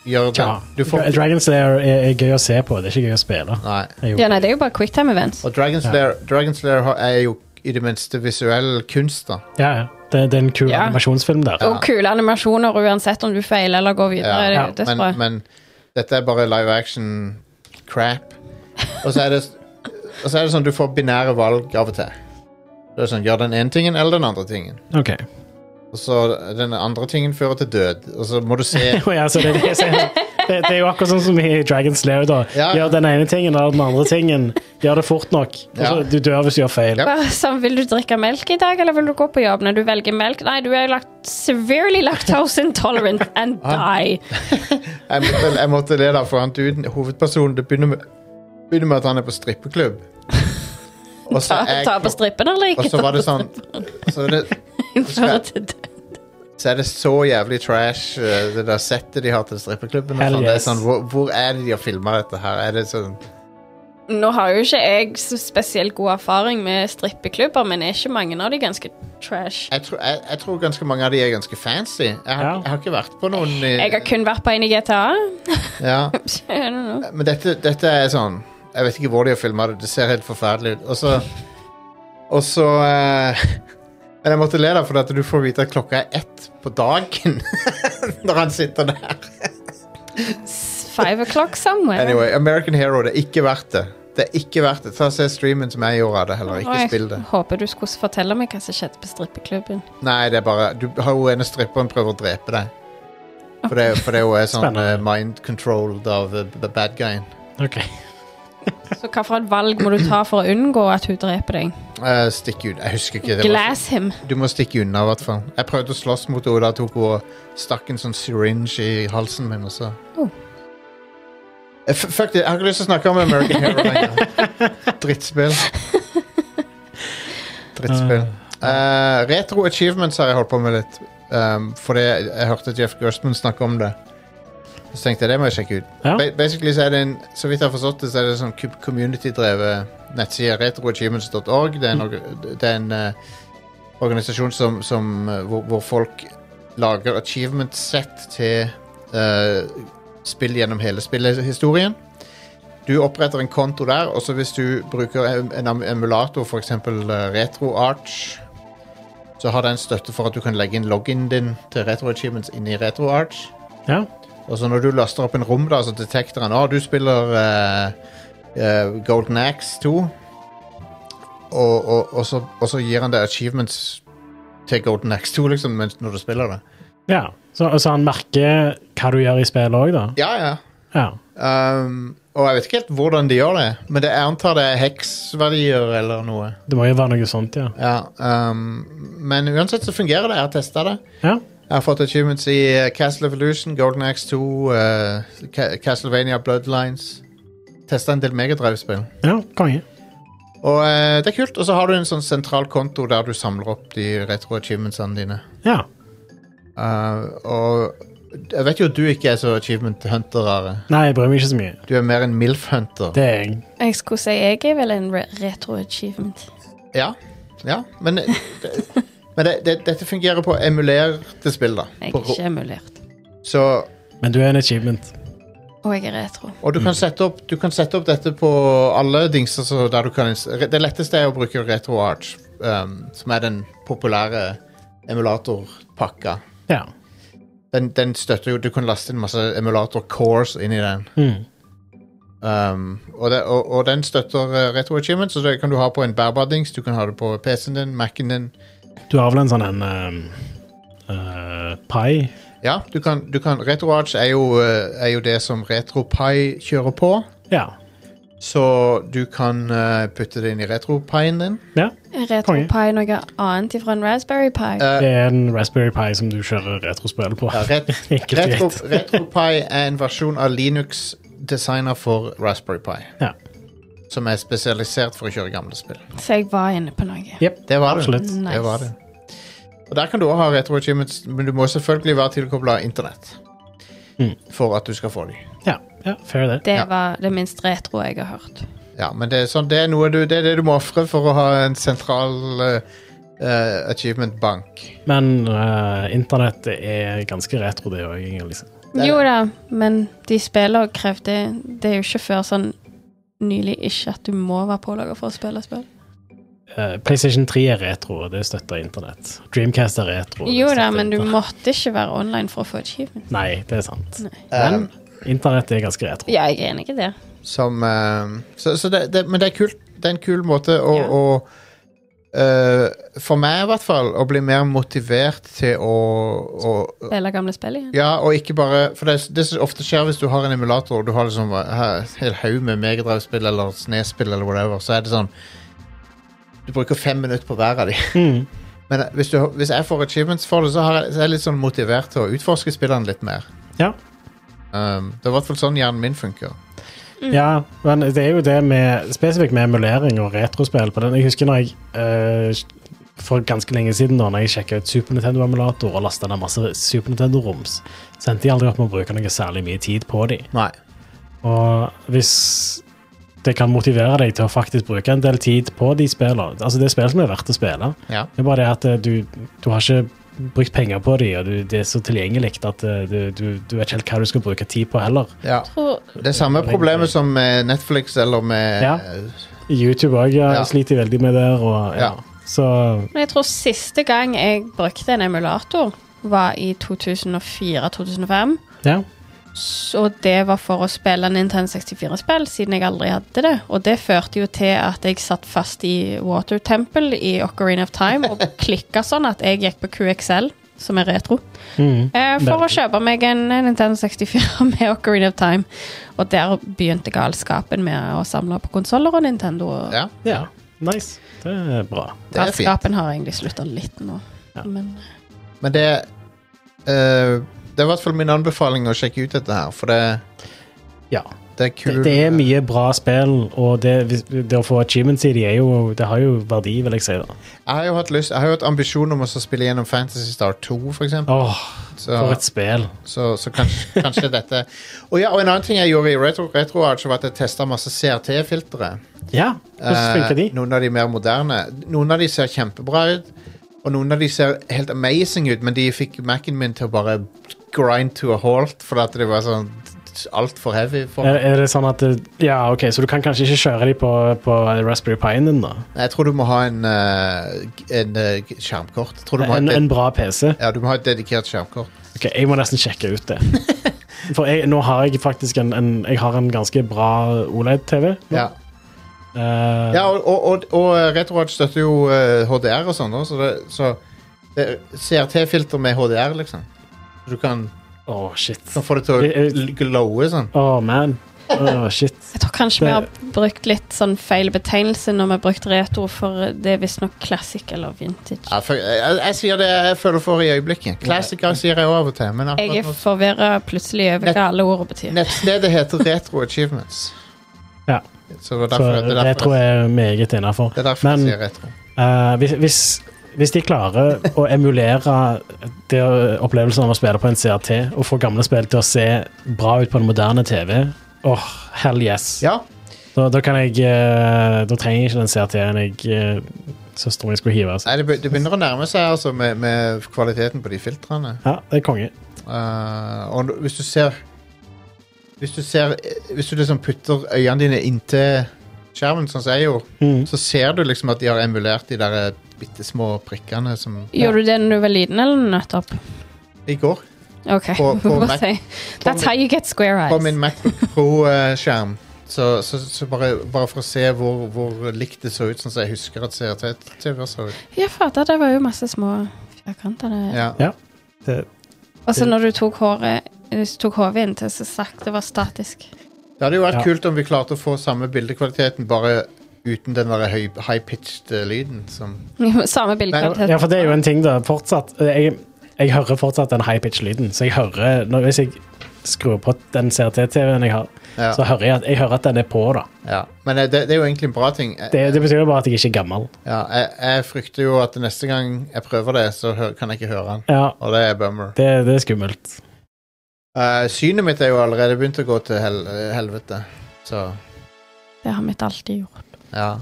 Gjør den ja. Du får Dragon Slayer er, er gøy å se på, det er ikke gøy å spille. Nei. Det er jo- Ja, nei, det er jo bare quicktime events. Og Dragons Ja. Lair, Dragons Lair har- er jo i det minste visuell kunst, da. Ja, ja. Det, det er en kul Ja. animasjonsfilm der. Og kule animasjoner uansett om du feiler eller går videre. Det er jo men, dødsbra. men dette er bare live action crap. Og så er det Og så er det sånn du får binære valg av og til. Det er sånn, Gjør den ene tingen eller den andre tingen. Ok. Og så Den andre tingen fører til død. Og så må du se Å ja, så altså, det, det, det, det er jo akkurat sånn som i Dragon Slayer. da. Ja. Gjør den ene tingen eller den andre tingen. Gjør det fort nok. Og så Ja. Du dør hvis du gjør feil. Ja. Bare sånn, Vil du drikke melk i dag, eller vil du gå på jobb når du velger melk? Nei, du er lagt severely lactose intolerant and Ah. die. jeg måtte, jeg måtte det da, for han duden, hovedpersonen det begynner med, begynner med at han er på strippeklubb. Og så, Ta, er, ta på strippen eller og ikke? så Ta var det på sånn så er det, strippen for å til død. så er det så jævlig trash, eh, det der settet de har til strippeklubben. Og Hell sånn. Det er yes. sånn, hvor, hvor er det de har filma dette her? Er det sånn Nå har jo ikke jeg så spesielt god erfaring med strippeklubber, men er ikke mange av de ganske trash? jeg, tror- jeg, jeg tror ganske mange av de er ganske fancy. Jeg har, Ja. jeg har ikke vært på noen i, Jeg har kun vært på en i GTA. ja. Så I don't know. Men dette, dette er sånn Jeg vet ikke hvor de har filma det. Det ser helt forferdelig ut. Og så Og så eh, Men jeg måtte le, da, for at du får vite at klokka er ett på dagen når han sitter der. Five o'clock somewhere. Anyway, American Hero, det er ikke verdt det. Det er ikke verdt det. Ta og Se streamen som jeg gjorde av det, heller. Og Ikke jeg spill det. håper du skulle fortelle meg hva som skjedde på strippeklubben. Nei, det er bare Du har jo ene stripperen prøver å drepe deg. For det, for det er jo er sånn Spennende. eh, mind controlled av eh, the bad guyen. Ok. Så hva for et valg må du ta for å unngå at hun dreper deg? Eh, stikk ut. Jeg husker ikke. Det var Glass him. Du må stikke unna, i hvert fall. Jeg prøvde å slåss mot henne. Da tok hun og stakk en sånn syringe i halsen min, og så Oh. Eh, f- Fuck det, jeg har ikke lyst til å snakke om American Hero lenger. Drittspill. Drittspill. Eh, retro achievements har jeg holdt på med litt. Um, fordi jeg, jeg hørte Jeff Gerstmann snakke om det. Så tenkte jeg det må jeg sjekke ut. Ja. Ba basically så er det en, så vidt jeg har forstått det, så er det en sånn co- community-drevet nettside, retroachievements.org. Det er en, org- det er en eh, organisasjon som, som eh, hvor, hvor folk lager achievement-sett til eh, spill gjennom hele spillhistorien. Du oppretter en konto der, og så hvis du bruker en en em- emulator, f.eks. RetroArch, så har den støtte for at du kan legge inn login din til RetroAchievements inn i RetroArch. Ja. Og så når du laster opp en rom, da, så detekter han at du spiller eh, eh, Golden Axe 2. Og, og, og, så, og så gir han deg achievements til Golden Axe 2, liksom, mens- når du spiller det. ja. Så, så han merker hva du gjør i spillet òg, da. Ja, ja. Ja. Um, og jeg vet ikke helt hvordan de gjør det, men det, jeg antar det er heksverdier eller noe. Det må jo være noe sånt, ja. Ja, um, men uansett så fungerer det. Jeg har testa det. Ja. Jeg har fått achievements i eh, Castle Evolution, Golden Axe 2, eh, Ca- Castlevania Bloodlines. Testa en del megadrive-spill. ja konge. Og eh, det er kult. Og så har du en sånn sentral konto der du samler opp de retro-achievementsene dine. Ja. Uh, og jeg vet jo at du ikke er så achievement hunter, Are. Nei, jeg bryr meg ikke så mye. Du er mer en MILF-hunter. Det er jeg. Jeg skulle si jeg er vel en re retro achievement. Ja, ja men, det, men det, det, dette fungerer på emulerte spill, da. Jeg På, er ikke emulert. så, Men du er en achievement. Og jeg er retro. og du kan, sette opp, du kan sette opp dette på alle dingser så der du kan ins- Det letteste er å bruke RetroArch. um, som er den populære emulatorpakka. Ja. Den, den støtter jo Du kan laste inn masse emulator-cores inn i den. Mm. Um, og, det, og, og den støtter uh, retro-achievement, så det kan du ha på en bærbar dings. Du kan ha det på PC-en din, Mac-en din. Du har vel en sånn en eh, eh, Pi? Ja, du kan, du kan RetroArch er jo, uh, er jo det som RetroPie kjører på. Ja. Så du kan uh, putte det inn i RetroPien din. ja. Konge. RetroPie er noe annet ifra en Raspberry Pi. Det er en Raspberry Pi som du kjører retrospill på. Ja, ret, Enkelt og retro, greit. RetroPie er en versjon av Linux designer for Raspberry Pi, Ja. som er spesialisert for å kjøre gamle spill. Så jeg var inne på noe. Jep, Det var det. Absolutt. Nice. Det var det. Og Der kan du også ha retroachievements, men du må selvfølgelig være tilkobla internett. Mm. For at du skal få dem. Ja, ja, fair det. Det Ja. var det minst retro jeg har hørt. Ja, men det er, sånn, det, er noe du, det er det du må ofre for å ha en sentral eh, eh, achievement-bank. Men eh, internett er ganske retro, det òg, egentlig. liksom. er Jo da, men de spiller og krever det. Det er jo ikke før sånn nylig ikke at du må være pålogga for å spille spill. Eh, PlayStation 3 er retro, og det støtter internett. Dreamcast er retro. og det Jo da, støtter men du internett. måtte ikke være online for å få achievement. Nei, det er sant. Eh, Men internett er ganske retro. Ja, jeg er enig i det. som eh, Så, så det, det, men det er kult. Det er en kul måte å, Ja. å eh, For meg, i hvert fall, å bli mer motivert til å, å, Spille gamle spill igjen. Ja, og ikke bare For det, det som ofte skjer hvis du har en emulator og du har liksom eh, en haug med megadrive-spill eller snespill eller whatever, så er det sånn Du bruker fem minutter på hver av de. Mm. Men eh, hvis, du, hvis jeg får achievements for det, så, har jeg, så er jeg litt sånn motivert til å utforske spillene litt mer. Ja. Um, det er i hvert fall sånn hjernen min funker. Mm. Ja, men det er jo det med spesifikt med emulering og retrospill på den. Jeg husker når jeg eh, for ganske lenge siden da, når jeg sjekka ut Super Nintendo-emulator og lasta ned masse Super Nintendo-roms, så endte jeg aldri opp med å bruke noe særlig mye tid på de. Nei. Og hvis det kan motivere deg til å faktisk bruke en del tid på de spillene Altså, det er spill som er verdt å spille. Ja. Det er bare det at eh, du, du har ikke brukt penger på de, og du, det er så tilgjengelig at eh, du, du, du vet ikke helt hva du skal bruke tid på heller. ja. Tror Det er samme problemet som med Netflix eller med Ja. YouTube òg Ja. ja. sliter jeg veldig med der. Og, ja. Ja. Så Men jeg tror siste gang jeg brukte en emulator, var i 2004-2005. ja. Og det var for å spille Nintendo 64-spill, siden jeg aldri hadde det. Og det førte jo til at jeg satt fast i Water Temple i Ocarina of Time og klikka sånn at jeg gikk på QXL, som er retro, Mm. eh, for å Veldig. kjøpe meg en Nintendo 64 med Ocarina of Time. Og der begynte galskapen med å samle på konsoller og Nintendo. Og Ja, ja. Nice. Det er bra. det er fint. galskapen har egentlig slutta litt nå. Ja. Men eh, Men det eh, Det er i hvert fall min anbefaling å sjekke ut dette her, for det, Ja. det er Det, kul det er mye bra spill, og det, hvis- det å få achievements i de er jo, det har jo verdi, vil jeg si. da. Jeg har jo hatt lyst Jeg har jo hatt ambisjon om å så spille gjennom Fantasy Star 2, for eksempel. Åh, Så, for et spill. så, så kanskje, kanskje dette og, ja, og en annen ting jeg gjorde i Retro, RetroArch, var at jeg testa masse CRT-filtre. Ja, hvordan funker de? Eh, noen av de mer moderne. Noen av de ser kjempebra ut, og noen av de ser helt amazing ut, men de fikk Mac-en min til å bare grind to a halt fordi at det var sånn altfor heavy. For Er, er det sånn at det- Ja, OK, så du kan kanskje ikke kjøre de på, på Raspberry Pien din, da? Jeg tror du må ha en, eh, en eh, skjermkort. Jeg tror du må ha En, et, en bra PC? ja, du må ha et dedikert skjermkort. Ok, Jeg må nesten sjekke ut det. For jeg, nå har jeg faktisk en, en, jeg har en ganske bra E OLED-TV. nå. Ja, Eh, ja og, og, og, og RetroArch støtter jo eh, HDR og sånn, da, så, det, så det er CRT-filter med HDR, liksom. Du kan, Åh, shit. kan få det til å gl- glowe sånn. Åh, man. Åh, shit. Jeg tror kanskje vi Det- har brukt litt sånn feil betegnelse når vi har brukt retro, for det er visstnok classic eller vintage. Ja, for, jeg, jeg, jeg sier det jeg føler for i øyeblikket. Classiker sier jeg også av og til. Men akkurat Jeg er nå- forvirra plutselig over Nett- hva alle ordene betyr. nettstedet heter Retro Achievements. Ja. Så det er Så derfor, det er det tror derfor, jeg er meget innafor. det er derfor Men jeg sier retro. eh, hvis, hvis, hvis de klarer å emulere det å- opplevelsen av å spille på en CRT, og få gamle spill til å se bra ut på en moderne TV Åh, hell yes. Ja, Da, da kan jeg eh, Da trenger jeg ikke den CRT-en jeg uh, søsteren min skulle hive. Altså. nei, det, be- det begynner å nærme seg altså, med, med kvaliteten på de filtrene. Ja, det er konge. Eh, og nå- hvis du ser Hvis du ser Hvis du liksom putter øynene dine inntil skjermen, sånn som jeg gjorde, Mm. så ser du liksom at de har emulert de der bitte små prikkene som Gjorde du det når du var liten, eller nettopp? I går, OK. På- på Bare Mac- si. That's how you get square på eyes. min Macbook Pro-skjerm, så, så, så bare, bare for å se hvor, hvor likt det så ut, sånn som jeg husker at CRT-TV så ut. Ja, fader, det var jo masse små firkanter. det. Ja. Ja. Det, Og så når du tok håret hvis du tok hodet inntil, så sagt det var statisk. Det hadde jo vært Ja. kult om vi klarte å få samme bildekvaliteten, bare uten den der høy- high-pitched eh, lyden. Som, Samme ja, bildekvalitet. for det er jo en ting, da. Fortsatt eh, Jeg, jeg hører fortsatt den high-pitch-lyden. Så jeg hører når, Hvis jeg skrur på den CRT-TV-en jeg har, Ja. så hører jeg at, jeg hører at den er på, da. ja. Men eh, det, det er jo egentlig en bra ting. Jeg, Det, det betyr jo bare at jeg ikke er gammel. ja, jeg, jeg frykter jo at neste gang jeg prøver det, så hø- kan jeg ikke høre den. Ja, Og det er bummer. det, det er skummelt. Eh, synet mitt er jo allerede begynt å gå til hel helvete. Så Det har mitt alltid gjort. ja.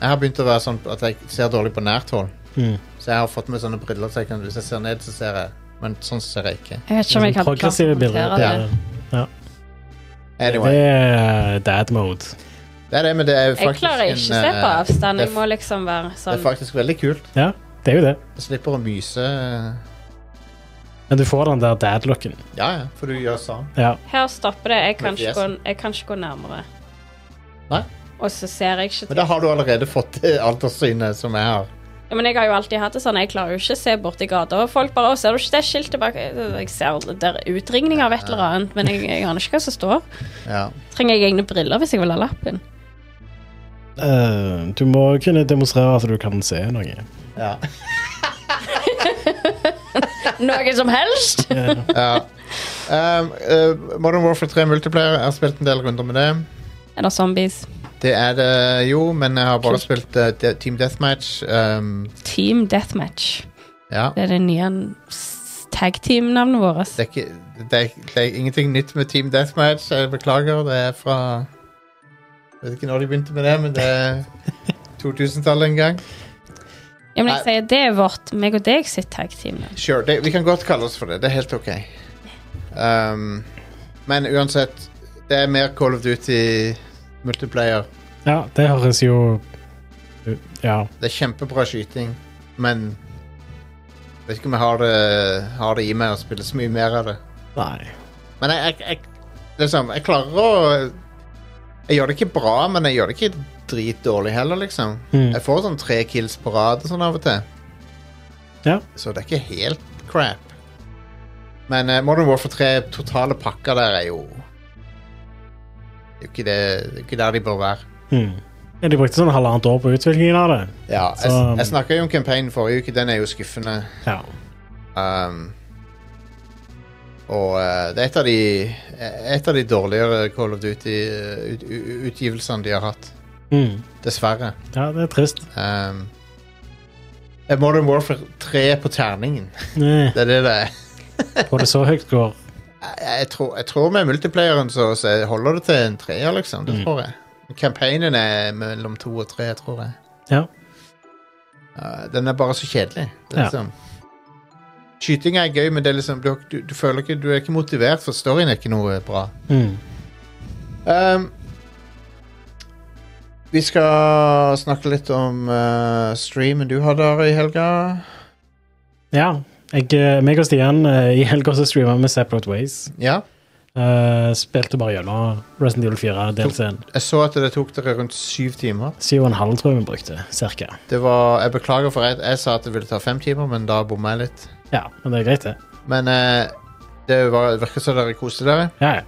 Jeg har begynt å være sånn at jeg ser dårlig på nært hold. Mm. Så jeg har fått med sånne briller så jeg kan, hvis jeg ser ned, så ser jeg. Men sånn ser jeg ikke. Jeg vet ikke om jeg hadde klart å Progressive bilder. håndtere ja. det. Anyway, Det er eh, dad mode. det er det, men det er Jeg faktisk klarer ikke å se på eh, avstand. det Jeg er- må liksom være Det er sånn faktisk veldig kult. Ja, det er jo det. Du slipper å myse. Men du får den der dad-looken. Ja, ja, for du gjør sånn. Ja. Her stopper det. Jeg kan, Med ikke gå, fjeset. jeg kan ikke gå nærmere. Nei. Og så ser jeg ikke Men til. da har du allerede fått eh, det alderssynet som jeg har. Ja, Men jeg har jo alltid hatt det sånn. Jeg klarer jo ikke å se bort i gata. Og folk bare «Å, 'Ser du ikke det skiltet bak?' Jeg ser det er utringning av et eller annet, men jeg, jeg aner ikke hva som står. Ja. Trenger jeg egne briller hvis jeg vil ha lappen? Eh, du må kunne demonstrere at du kan se noe. Ja. Noe som helst? ja. Um, eh, Modern Warfare 3 Multiplayer, jeg har spilt en del runder med det. Er det zombies? Det er det jo, men jeg har bare Kult. spilt eh, de- Team Deathmatch. Um, Team Deathmatch. ja. Det er det nye s- tag team-navnet vårt. Det er, ikke, det, er, det er ingenting nytt med Team Deathmatch, jeg beklager. Det er fra Jeg vet ikke når de begynte med det, men det er 2000-tallet en gang. Ja, men jeg Nei. sier det er vårt, meg og deg sitt tag team. navn. Sure, det, vi kan godt kalle oss for det. Det er helt ok. Um, men uansett, det er mer Call of Duty multiplayer. Ja, det høres jo Ja. Det er kjempebra skyting, men jeg vet ikke om jeg har det, har det i meg å spille så mye mer av det. Nei. Men jeg, jeg, jeg, det er sånn, jeg klarer å Jeg gjør det ikke bra, men jeg gjør det ikke dritdårlig heller, liksom. Mm. Jeg får sånn tre kills på rad og sånn av og til. Ja. Så det er ikke helt crap. Men eh, Modern Warfare 3, totale pakker der, er jo Det er jo ikke, det, det er jo ikke der de bør være. Hmm. Ja, de brukte sånn halvannet år på utviklingen av det. Ja, jeg, Så- jeg snakka jo om campaignen forrige uke. Den er jo skuffende. Ja. Um, og eh, det er et av, de, et av de dårligere Call of eh, Duty-utgivelsene de har hatt. Hmm. Dessverre. ja, det er trist. Um, det er Modern Warfare 3 på terningen. Nei. Det er det det er. Og Eh, det så høyt går. Jeg, jeg, tror, jeg tror med multiplayeren så, så holder det til en treer, liksom. Mm. Det tror jeg. Campaignen er mellom to og tre, tror jeg. Ja. Uh, den er bare så kjedelig. Det er Ja. liksom. Skyting er gøy, men det er liksom, du, har- du, du føler ikke, du er ikke motivert, for storyen er ikke noe bra. Hmm. Ehm, vi skal snakke litt om eh, streamen du hadde her i helga. Ja. Jeg, eh, meg og Stian eh, i helga så streama vi Separate Ways. Ja. Eh, spilte bare gjennom Resident Evil 4 DLC-en. Jeg så at det tok dere rundt syv timer. Syv og en halv tror jeg vi brukte, cirka. Det var, jeg beklager, for jeg, jeg sa at det ville ta fem timer, men da bomma jeg litt. Ja, men det er greit, det. Men eh, det var, virker som dere koste dere. Ja, ja.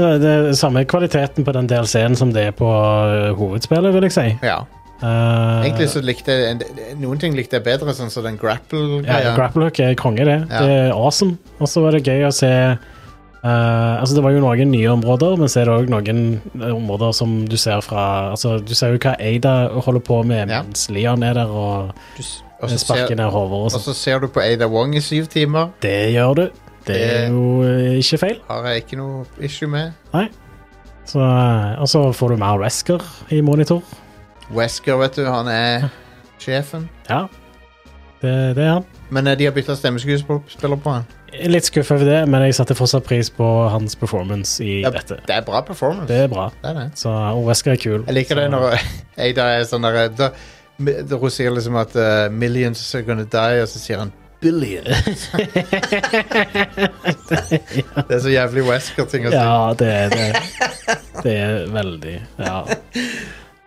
Det er- det er samme kvaliteten på den DLC-en som det er på eh, hovedspillet, vil jeg si. Ja. Eh, Egentlig så likte jeg en- Noen ting likte jeg bedre, sånn som den Ja, grapple-greia. Grapplehook er konge, det. Ja. Det er awesome. Og så var det gøy å se eh, altså Det var jo noen nye områder, men så er det òg noen eh, områder som du ser fra altså Du ser jo hva Ada holder på med Ja. mens Leon er der og Du s- og så sparker ser- ned hoder og og sånn. så ser du på Ada Wong i syv timer. Det gjør du. Det Det- er jo eh, ikke feil. Har jeg ikke noe issue med. Nei. Så, eh, og så får du mer Wesker i monitor. Wesker, vet du, han er sjefen. Ja, det, det er han. Men eh, de har bytta stemmeskuespiller på han. Litt skuffa over det, men jeg satte fortsatt pris på hans performance i Ja. dette. Det er bra performance. Det er bra. Det er det. Så, og Wesker er kul. Jeg liker det Så- når Ada er sånn der da, mi- hvor Hun sier liksom at eh, 'millions are gonna die', og så sier han 'billions'. det er så jævlig Wesker-ting å si. Ja, det er det. Det er veldig Ja.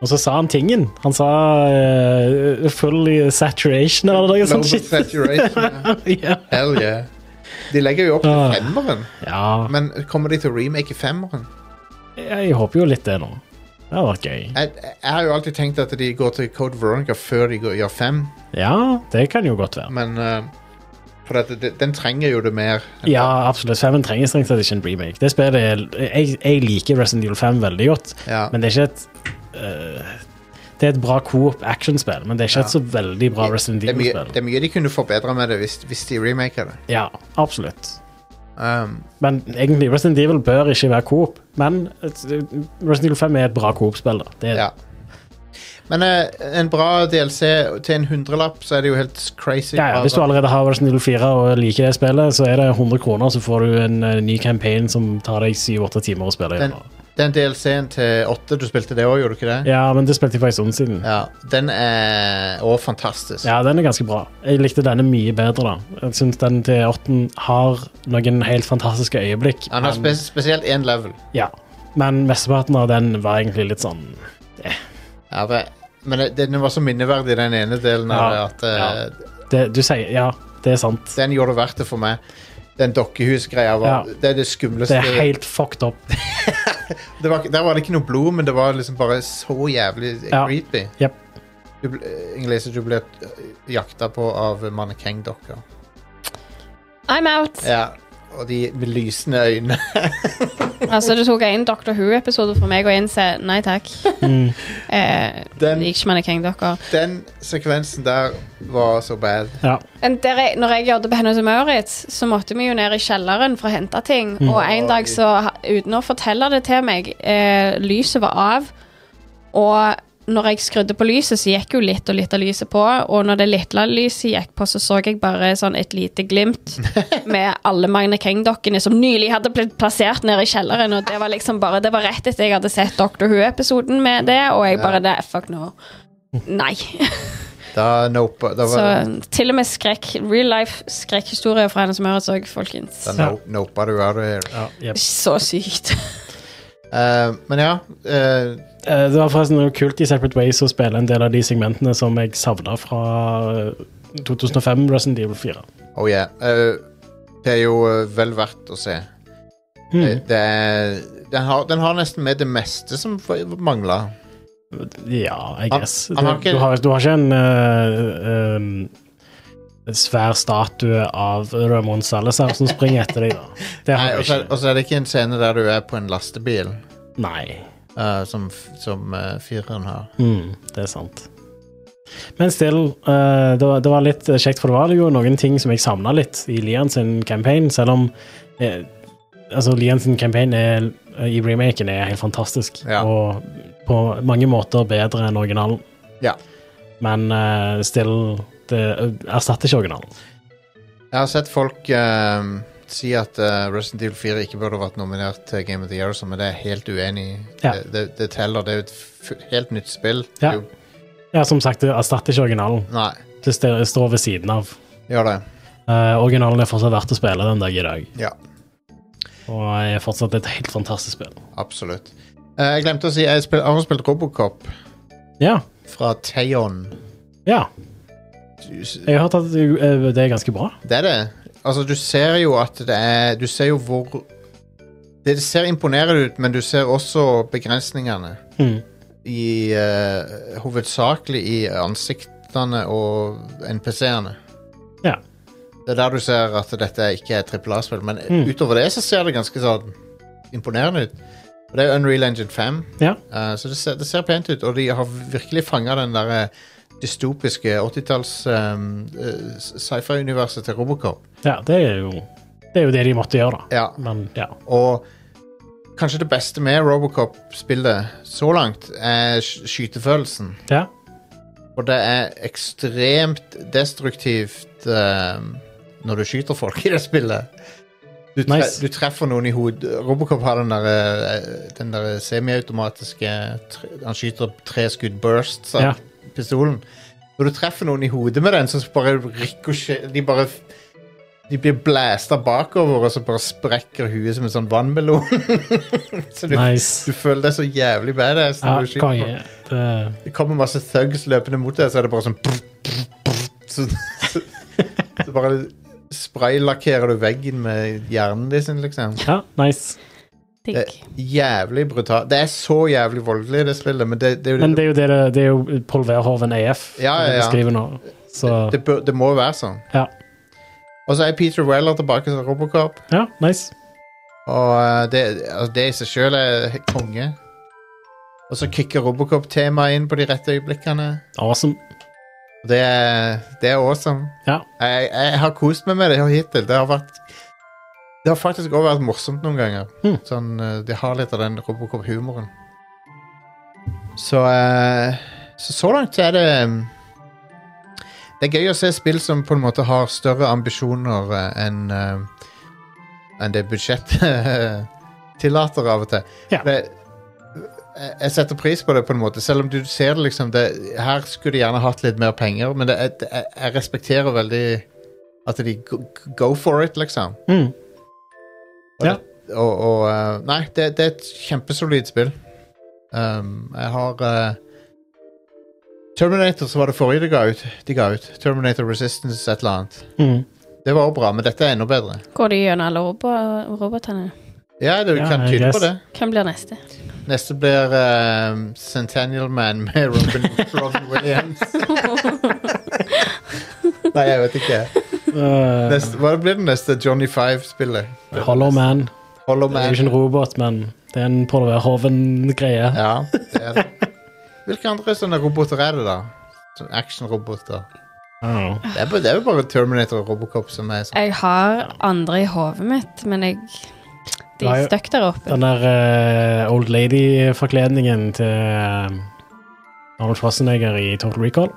Og så sa han tingen. Han sa eh, full saturation eller noe sånt Low Sånn shit. saturation, ja. ja. Hell yeah. De legger jo opp til Ah. femmeren, ja. men kommer de til å remake femmeren? Jeg håper jo litt det nå. Det hadde vært gøy. Jeg, jeg har jo alltid tenkt at de går til Code Veronica før de går, gjør fem, Ja, det kan jo godt være. men eh, For at det, den trenger jo det mer. Ja, absolutt. Femmen trenger strengt tatt ikke en remake. Det spillet er, jeg, jeg liker Resident Evil 5 veldig godt, Ja. men det er ikke et eh, Det er et bra coop actionspill, men det er ikke et så veldig bra Resident det, er mye, det Evil-spill. er mye de kunne forbedra med det hvis, hvis de remaker det. Ja, absolutt. Um, Men egentlig, Resident Evil bør ikke være coop. Men et- eh, Resident Evil 5 er et bra coop-spill. da. Det er- Ja. Men eh, en bra DLC til en hundrelapp, så er det jo helt crazy. Ja, ja, bra. hvis du allerede har Resident Evil 4 og liker det spillet, så er det 100 kroner, så får du en eh, ny campaign som tar deg 7-8 timer å spille. den, gjennom. den DLC-en til åtte, du spilte det òg, gjorde du ikke det? Ja, men det spilte jeg for en stund siden. Ja. den er òg fantastisk. den er ganske bra. Jeg likte denne mye bedre, da. Jeg syns den til 8 har noen helt fantastiske øyeblikk. Han har men- spe spesielt én level. ja. men mesteparten av den var egentlig litt sånn Ja, det, men det, den var så minneverdig, den ene delen av det, Ja, at eh, det, Du sier Ja, det er sant. den gjorde det verdt det for meg. Den dokkehusgreia var Ja. Det er det skumleste. Det er helt fucked up. Det var, der var det ikke noe blod, men det var liksom bare så jævlig Ja. creepy. Jep. Du, bl- eh, Inglese, du ble eh, jakta på av mannekengdokker. I'm out. Ja, og de med lysende øyne. Altså, det tok en Doctor Who-episode for meg å innse nei takk. eh, Den- liker ikke mannekeng, dere. Den sekvensen der var så bad. Ja. Men der jeg, når jeg jobbet på Hennes og Maurits, så måtte vi jo ned i kjelleren for å hente ting. Og en dag, så, ha- uten å fortelle det til meg, eh, lyset var av. Og når jeg skrudde på lyset, så gikk jo litt og litt av lyset på. Og når det lille lyset gikk på, så så jeg bare sånn et lite glimt med alle Magne Keng-dokkene som nylig hadde blitt plassert nede i kjelleren. Og det var liksom bare, det var rett etter jeg hadde sett Doctor Who-episoden med det, og jeg bare det, Fuck no. Nei. Da nopa, da Så var, til og med skrekk, real life skrekkhistorier fra henne som høres òg, folkens. da no, nopa du out of here. Ja, jep. Så sykt. Eh, men ja eh, Eh, Det var forresten noe kult i Separate Ways å spille en del av de segmentene som jeg savna fra eh, 2005 Resident Evil 4. Oh yeah. eh, det er jo eh, vel verdt å se. Mm. Hmm. Eh, Det er, den, har, den har nesten med det meste som mangla. Ja, I Han- guess. han har Du- ikke- du, har, du har ikke en eh, em, en svær statue av Ramón Salazar som springer etter deg, da. Det har Og du ikke. så er det ikke en scene der du er på en lastebil, Nei. eh, som, f- som eh, fireren har. Mm, det er sant. Men still, eh, det, var, det var litt kjekt, for det var jo noen ting som jeg savna litt i Lian sin campaign, selv om eh, Altså, Lian sin campaign er, i remaken er helt fantastisk, Ja. og på mange måter bedre enn originalen. Ja. Men eh, still, det erstatter ikke originalen. Jeg har sett folk eh, si at eh, Resident Evil 4 ikke burde vært nominert til Game of the Year, og sånn, men det er jeg helt uenig i. Ja. Det, det, det teller. Det er jo et f helt nytt spill. Ja. Jo, Ja, som sagt, det erstatter ikke originalen. nei, Det st- står ved siden av. gjør det. Eh, originalen er fortsatt verdt å spille den dag i dag, Ja, og er fortsatt et helt fantastisk spill. absolutt. Eh, jeg glemte å si jeg, spil, jeg har spilt Robocop Ja. fra Theon. Ja. Det Jeg har hørt at du, eh, det er ganske bra. er det. Altså, du ser jo at det er Du ser jo hvor Det ser imponerende ut, men du ser også begrensningene. Mm. i eh, Hovedsakelig i ansiktene og NPC-ene. Ja. Det er der du ser at dette ikke er trippel A-spill, men Mm. utover det så ser det ganske sånn imponerende ut. Og det er Unreal Engine 5, Ja. eh, så det ser, det ser pent ut, og de har virkelig fanga den der eh, dystopiske 80-talls um, sci-fi-universet til Robocop. ja det, er jo, det er jo det de måtte gjøre, da. Ja, Men ja. og kanskje det beste med Robocop-spillet så langt er sk- skytefølelsen. ja. Og det er ekstremt destruktivt eh, når du skyter folk i det spillet. Du, tre Nice. du treffer noen i hodet. Robocop har den der, eh, den der semiautomatiske tre- Han skyter tre skudd bursts av Ja. pistolen. Når du treffer noen i hodet med den, så bare ricochet De bare De blir blæsta bakover, og så bare sprekker huet som en sånn vannmelon. så du, Nice. du føler deg så jævlig badass. Ja, når du skyter på konge. Det- det kommer masse thugs løpende mot deg, så er det bare sånn brr, brr, brr, så, så, så bare spraylakkerer du veggen med hjernen din, sin, liksom. Ja, nice. Det Digg. er jævlig brutalt. Det er så jævlig voldelig, det spillet, men det, det, er jo Men det, det er jo, det, det- det er jo Pål Verhoven AF Ja, ja, det ja. vi skriver nå. Så det, bør- det må være sånn. Ja. Og så er Peter Weller tilbake som Robocop, ja, nice. og eh, det, altså, det i seg sjøl er konge. Og så kicker Robocop-temaet inn på de rette øyeblikkene. Awesome. Og Det er, det er awesome. Ja. Jeg, jeg har kost meg med det hittil. Det har vært Det har faktisk også vært morsomt noen ganger. Mm. Sånn, eh, det har litt av den Robocop-humoren. Så, eh, så så langt så er det mm, Det er gøy å se spill som på en måte har større ambisjoner eh, enn eh, enn det budsjettet tillater av og til. Ja. Det, jeg Eh, jeg setter pris på det, på en måte selv om du ser det liksom det, Her skulle de gjerne hatt litt mer penger, men det, er- det, er- jeg respekterer veldig at de go, go for it, liksom. Mm. Og Ja. det- Og, og eh, Nei, det, det er et kjempesolid spill. Um, jeg har eh, Terminator, så var det forrige de ga ut. De ga ut. Terminator Resistance et eller annet. Mm. Det var også bra, men dette er enda bedre. Går de gjennom alle robo- robotene? Ja, det Ja, kan I tyde guess. på det. Hvem blir neste? Neste blir eh, Centennial Man med Robin, Robin Williams. Nei, jeg vet ikke. Eh, Neste, hva blir det neste Johnny Five-spillet? Hollow Man. Hollow Det er jo Man. ikke en robot, men det er en Pål Verhoven-greie. Ja, det er det. Hvilke andre sånne roboter er det, da? Sånn Action-roboter. Ja. Det, er ba- det er jo bare Terminator og Robocop som er sånn. Jeg har andre i hodet mitt, men jeg De Nei. er stuck der oppe. Den der eh, old lady-forkledningen til eh, Arnold Schwarzenegger i Total Recall.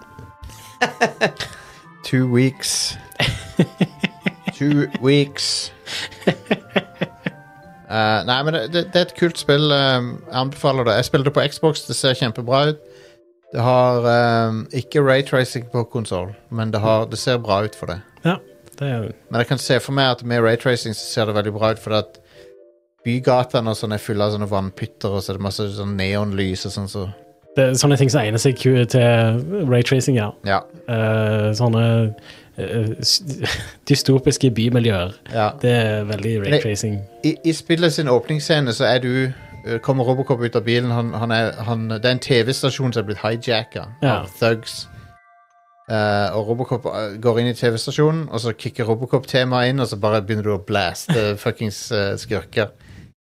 Two weeks. Two weeks. Eh, nei, men det, det, det er et kult spill. eh, jeg anbefaler det. Jeg spiller det på Xbox, det ser kjempebra ut. Det har eh, ikke raytracing på konsoll, men det, har, det ser bra ut for det. Ja, det er jo Men jeg kan se for meg at med raytracing så ser det veldig bra ut, fordi at bygatene og sånn er fulle av sånne vannpytter, og så er det masse sånn neonlys og sånn, så det er sånne ting som egner seg ku- til raytracing, ja. Ja. Eh, sånne eh, s- dystopiske bymiljøer. ja. Det er veldig raytracing. I, I spillet sin åpningsscene så er du eh, Kommer Robocop ut av bilen han, han er, han, Det er en TV-stasjon som er blitt hijacka Ja. Av thugs Eh, Og Robocop eh, går inn i TV-stasjonen Og så kicker Robocop-temaet inn Og så bare begynner du å blaste fuckings eh, skurker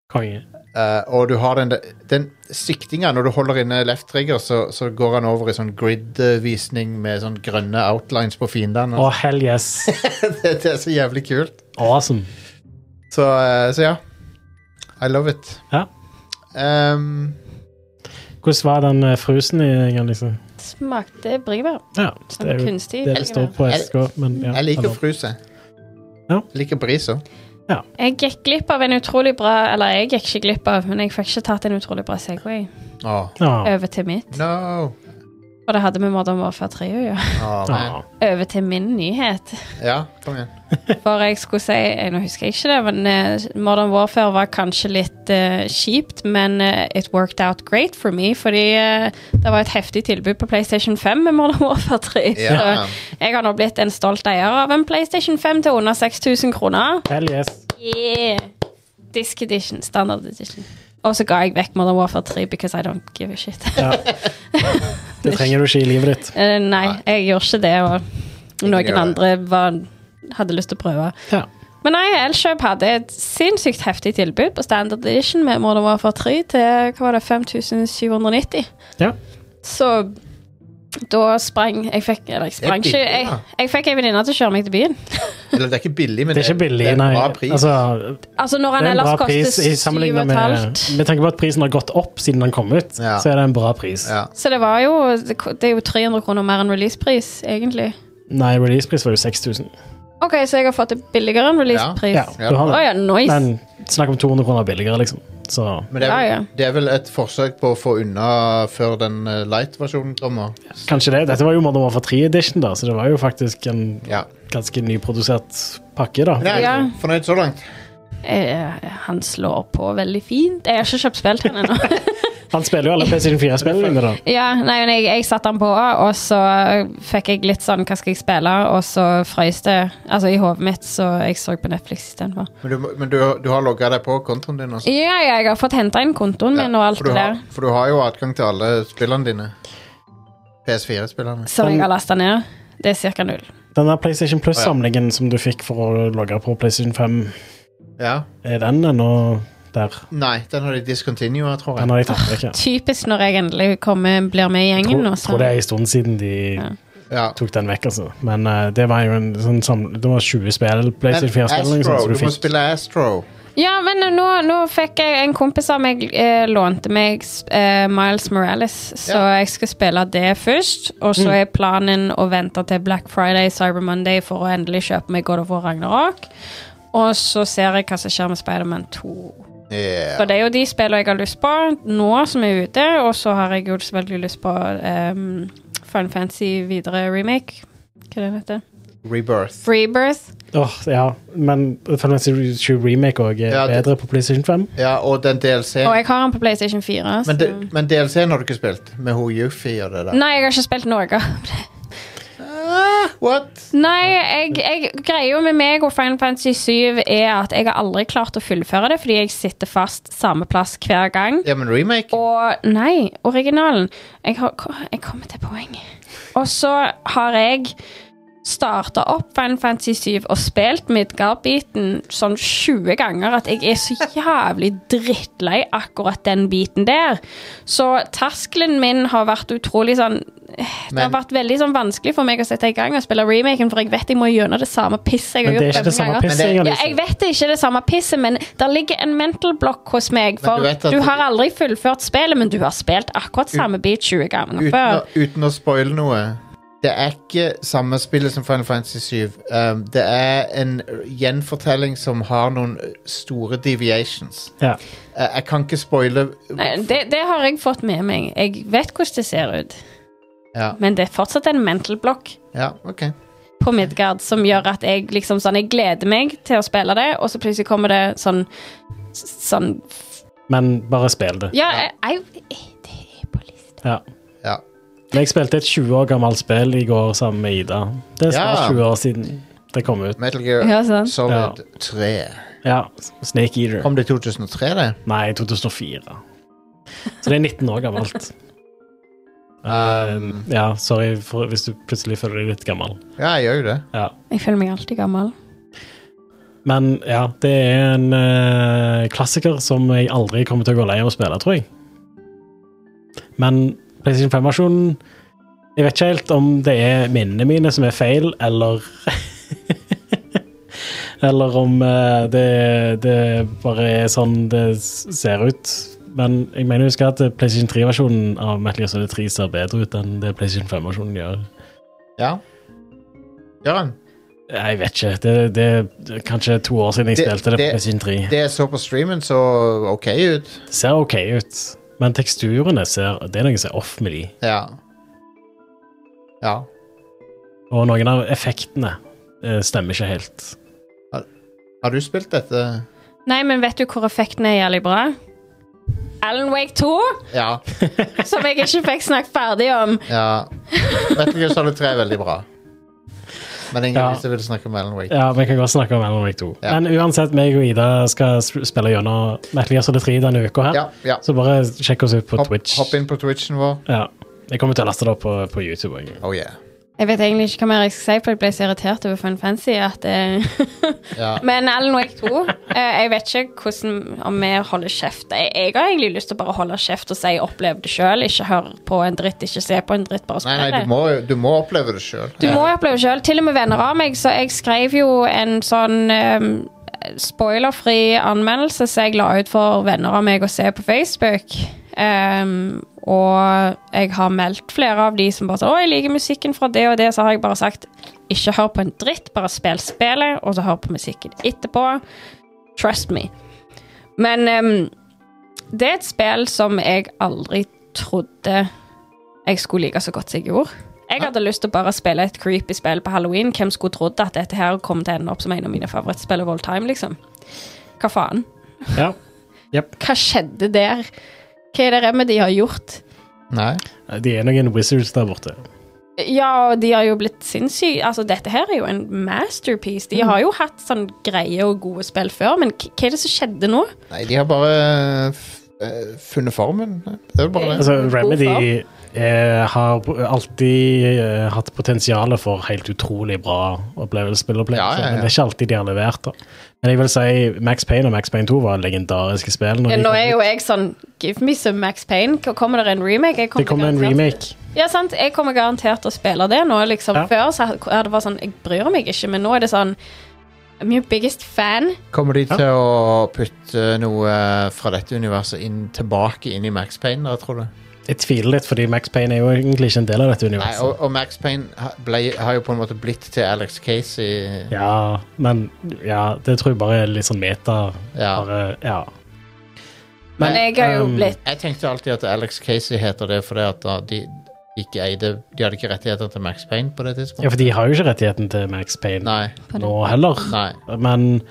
Konge. Eh, og du har den, den siktinga når du holder inne left trigger, så, så går han over i sånn grid-visning med sånn grønne outlines på fiendene. Å, hell yes! det, det er så jævlig kult. Awesome. Så, eh, så ja. I love it. Ja. Ehm, Hvordan var den eh, frusen i gang, liksom? Smakte bringebær. Ja, Sånn det er jo kunstig. det det står på Jeg- SK, men ja. jeg liker eller- fruse. Ja. Jeg liker bris òg. Jeg gikk glipp av en utrolig bra Eller jeg gikk ikke glipp av, men jeg fikk ikke tatt en utrolig bra Segway Ja. over til mitt. No! Og det hadde vi Modern Warfare 3 å gjøre. Åh, man. Ja. Over til min nyhet. Ja, kom igjen. For jeg skulle si jeg, Nå husker jeg ikke det, men eh, Modern Warfare var kanskje litt eh, kjipt, men eh, it worked out great for me, fordi eh, det var et heftig tilbud på PlayStation 5 med Modern Warfare 3. Ja. Så jeg har nå blitt en stolt eier av en PlayStation 5 til under 6000 kroner. Hell yes. Yeah. Disc edition, standard edition. Og så ga jeg vekk Modern Warfare 3 because I don't give a shit. Ja. Det trenger du ikke i livet ditt. Eh, nei, jeg gjorde ikke det, og gjør noen det. andre var, hadde lyst til å prøve. Ja. Men nei, Elkjøp hadde et sinnssykt heftig tilbud på standard edition med Modern Warfare 3 til hva var det, 5790. Ja. Så da sprang Jeg fikk Eller, jeg sprang Det er ikke billig, Jeg, da. jeg fikk ei venninne til å kjøre meg til byen. Eller, det er ikke billig, men Det er ikke billig, det er en nei. bra pris. Altså, Altså, når det han er en ellers bra koster pris i sammenligning med 7,5 Med tanke på at prisen har gått opp siden den kom ut, Ja. så er det en bra pris. ja. Så det var jo Det det er jo 300 kroner mer enn releasepris, egentlig. Nei, releasepris var jo 6000. OK, så jeg har fått det billigere enn releasepris. Ja, Å Ja. du har ja, det. nice. Men snakk om 200 kroner billigere, liksom. Så Men det er, Ja, vel, ja. det er vel et forsøk på å få unna før den eh, light-versjonen kommer. kanskje det. Dette var jo Modern Warfare 3-edition, da, så det var jo faktisk en Ja. ganske nyprodusert pakke, da. Men jeg er Ja. fornøyd så langt. Eh, han slår på veldig fint. Jeg har ikke kjøpt spill til han ennå. Han spiller jo alle PlayStation 4-spillene, da. Ja, nei, men jeg, jeg satte den på, og så fikk jeg litt sånn Hva skal jeg spille? Og så frøys det altså i hodet mitt, så jeg så på Netflix istedenfor. Men du, må- men du, du har logga deg på kontoen din? Også. Ja, ja, jeg har fått henta inn kontoen min og alt for, du det har, der for du har jo adgang til alle spillene dine. PS4-spillerne. som sånn jeg har lasta ned. Det er ca. null. Den der PlayStation Plus-samlingen som du fikk for å logge på PlayStation 5, Ja. er den ennå der? Nei, den har de discontinua, tror Den jeg. har jeg tatt vekk. ja. Typisk når jeg endelig kommer, blir med i gjengen. Tror, og så- tror det er en stund siden de Ja. tok den vekk, altså. Men eh, det var jo en sånn samling Det var 20 spill, PlayStation 4-spill, liksom, Astro, som du du må fikk. spille Astro. Ja, men nå, nå fikk jeg en kompis av meg eh, lånte meg eh, Miles Morales, så jeg skal spille det først. Og så Mm. er planen å vente til Black Friday, Cyber Monday, for å endelig kjøpe meg God of War Ragnarok. Og så ser jeg hva som skjer med Spiderman 2. Yeah. Så det er jo de spillene jeg har lyst på nå som er ute, og så har jeg jo selvfølgelig lyst på um, Fun Fancy videre remake. Hva er det den heter? Rebirth. Rebirth. Åh, ja, men Final Fantasy 7 Remake òg er Ja, det- bedre på PlayStation 5. Ja, og den DLC-en Og jeg har den på PlayStation altså. 4. men, så- de, men DLC-en har du ikke spilt? Med hun Yuffie og det der? Nei, jeg har ikke spilt noe av det. Ah, what? Nei, jeg, jeg greier jo med meg og Final Fantasy 7 er at jeg har aldri klart å fullføre det, fordi jeg sitter fast samme plass hver gang. Ja, men remake? Og nei, originalen. Jeg, har, jeg kommer til poenget. Og så har jeg starta opp Final Fantasy 7 og spilt Midgard-biten sånn 20 ganger at jeg er så jævlig drittlei akkurat den biten der. Så terskelen min har vært utrolig sånn det har Men- vært veldig sånn vanskelig for meg å sette i gang og spille remaken, for jeg vet jeg må gjennom det samme pisset jeg har Men det er gjort. ikke det fem samme liksom. ganger. pisset. Men det- Ja, jeg vet det ikke er det samme pisset, men der ligger en mental block hos meg. For du vet at- du, har aldri fullført spillet, men du har spilt akkurat samme bit 20 ganger Uten å, før. uten å spoile noe. Det er ikke samme spillet som Final Fantasy 7. Um, det er en gjenfortelling som har noen store deviations. Ja. Eh, jeg kan ikke spoile Nei, det, det har jeg fått med meg. Jeg vet hvordan det ser ut, ja, men det er fortsatt en mental block ja, OK. på Midgard som gjør at jeg liksom sånn Jeg gleder meg til å spille det, og så plutselig kommer det sånn Sånn Men bare spill det. Ja, jeg, jeg, det er på lista. Ja. Ja. Men jeg spilte et 20 år gammelt spill i går sammen med Ida. Det er snart Ja. 20 år siden det kom ut. Metal Gear Ja, sant. Solid 3. Ja, Snake Eater. Kom det i 2003, det? Nei, 2004. Så det er 19 år gammelt. Um, Ja, sorry for, hvis du plutselig føler deg litt gammel. ja, jeg gjør jo det. Ja. Jeg føler meg alltid gammel. Men ja, det er en eh, klassiker som jeg aldri kommer til å gå lei av å spille, tror jeg. Men PlayStation 5-versjonen Jeg vet ikke helt om det er minnene mine som er feil, eller Eller om eh, det, det bare er sånn det s- ser ut. Men jeg mener husker at PlayStation 3-versjonen av Metal Gear Solid 3 ser bedre ut enn det PlayStation 5-versjonen gjør. Ja. Gjør han? Jeg vet ikke. Det, det, det er kanskje to år siden jeg Det- spilte det, det- på PlayStation 3. Det jeg så på streamen, så OK ut. Det ser ok ut, men teksturene ser Det er noe som er off med de. Ja. Ja. Og noen av effektene eh, stemmer ikke helt. Har du spilt dette? Nei, men vet du hvor effekten er jævlig bra? Alan Wake 2? Ja. Som jeg ikke fikk snakket ferdig om. Ja. Metal Gear Solid 3 er veldig bra. Men ingen Ja. visste vil snakke om Alan Wake. Ja, vi kan godt snakke om Alan Wake 2. Ja. Men uansett, meg og Ida skal s- spille gjennom Metal Gear Solid 3 denne uka her. Ja, ja. Så bare sjekk oss ut på Hopp, Twitch. hopp inn på Twitchen vår. Ja. Jeg kommer til å laste det opp på, på YouTube. også. Oh yeah. Jeg vet egentlig ikke hva mer jeg skal si, for jeg ble så irritert over Fun Fancy. At, eh, Ja. men Alan Wake 2 eh, Jeg vet ikke hvordan, om vi holder kjeft. Jeg, jeg har egentlig lyst til å bare holde kjeft og si 'opplev det sjøl'. Ikke hør på en dritt, ikke se på en dritt, bare Nei, spill nei, det. du må, du må oppleve det sjøl. Du må oppleve sjøl. Til og med venner av meg, så jeg skrev jo en sånn um, spoilerfri anmeldelse som jeg la ut for venner av meg å se på Facebook. Um, og jeg har meldt flere av de som bare sa 'Å, jeg liker musikken fra det og det', så har jeg bare sagt 'Ikke hør på en dritt, bare spill spillet, og så hør på musikken etterpå'. Trust me. Men um, det er et spill som jeg aldri trodde jeg skulle like så godt som jeg gjorde. Jeg hadde lyst til å bare spille et creepy spill på halloween. Hvem skulle trodd at dette her kom til å ende opp som en av mine favorittspill of all time, liksom? Hva faen? Ja. Jep. Hva skjedde der? Hva er det Remedy har gjort? Nei. De er noen wizards der borte. Ja, og de har jo blitt sinnssyke. Altså, dette her er jo en masterpiece. De har jo hatt sånn greie og gode spill før, men k- hva er det som skjedde nå? Nei, de har bare f- eh, funnet formen. Det er jo bare det. Altså, Remedy eh, har p- alltid eh, hatt potensial for helt utrolig bra opplevelse, Ja, spillopplevelser, ja, ja. men det er ikke alltid de har levert. Da. Men jeg vil si Max Payne og Max Payne 2 var legendariske spill. når Ja, de nå kom er ut. jo jeg sånn Give me some Max Payne. K- Kommer det en remake? Jeg kommer det kom en garantert- remake. Ja, sant. Jeg kommer garantert til å spille det nå. Liksom. Ja. Før så hadde det vært sånn Jeg bryr meg ikke, men nå er det sånn I'm your biggest fan. Kommer de til å putte noe fra dette universet inn, tilbake inn i Max Payne, da, tror du? Jeg tviler litt, fordi Max Payne er jo egentlig ikke en del av dette Nei, universet. og, og Max Payne ha- ble, har jo på en måte blitt til Alex Casey. Ja, men ja, det tror jeg bare er litt sånn meta. Ja. Bare, ja. Men jeg har jo um, blitt Jeg tenkte alltid at Alex Casey heter det fordi at da de ikke eide De hadde ikke rettigheter til Max Payne på det ehm, ja, tidspunktet. for de har jo ikke rettigheten til Max Payne Nei. nå heller. Nei. Men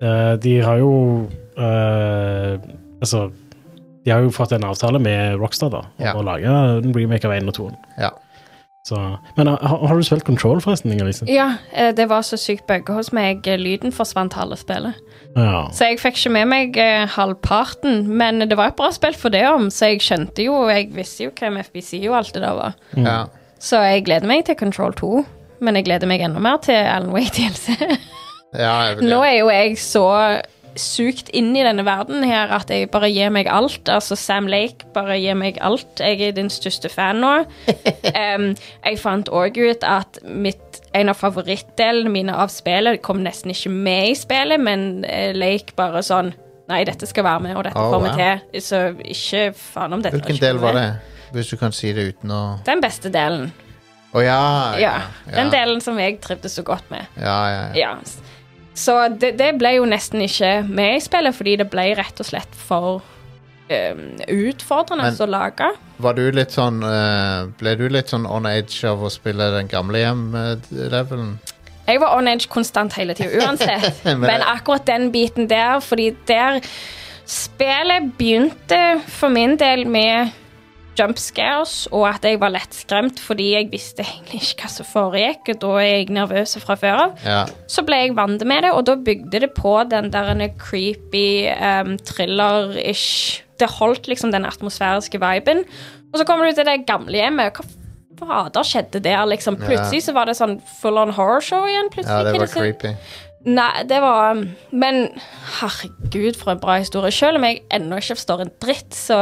eh, de har jo eh, Altså De har jo fått en avtale med Rockstar da om Ja. å lage en remake av 1 og 2. Ja. Så, men har, har du spilt Control, forresten? Inger-Lise? Ja, eh, det var så sykt bugga hos meg. Eh, Lyden forsvant halve spillet. Ja. Så jeg fikk ikke med meg eh, halvparten, men det var et bra spill for det om, så jeg skjønte jo, og jeg visste jo hvem FBC og alt det der var. ja. Så jeg gleder meg til Control 2, men jeg gleder meg enda mer til Alan Wake DLC. ja jeg vil, Nå er jo jeg så sugt inn i denne verden her at jeg bare gir meg alt. Altså Sam Lake, bare gir meg alt. Jeg er din største fan nå. Em, jeg fant òg ut at mitt, en av favorittdelene mine av spillet kom nesten ikke med i spillet, men eh, Lake bare sånn Nei, dette skal være med, og dette Oh, kommer wow. til. Så ikke faen om dette Hvilken ikke del var kommer det? med. Hvis du kan si det uten å Den beste delen. Å ja, Ja. Den ja. delen som jeg trivdes så godt med. Ja, ja, ja. Ja. Så det, det ble jo nesten ikke med i spillet, fordi det ble rett og slett for ehm, utfordrende Men- å lage. Var du litt sånn eh, Ble du litt sånn on edge av å spille den gamle hjem-levelen? Jeg var on edge konstant hele tida uansett, Men- men akkurat den biten der, fordi der Spillet begynte for min del med jump scares, og at jeg var lettskremt fordi jeg visste egentlig ikke hva som foregikk, og da er jeg nervøs fra før av. Ja. Så ble jeg vant med det, og da bygde det på den der en creepy um, thriller-ish Det holdt liksom den atmosfæriske viben. Og så kommer du til det gamle hjemmet. Hva fader skjedde der, liksom? Plutselig så var det sånn full on horror show igjen. ja, det plutselig. Hva er var som- creepy. Nei, det var um, Men herregud, for en bra historie. Selv om jeg ennå ikke forstår en dritt, så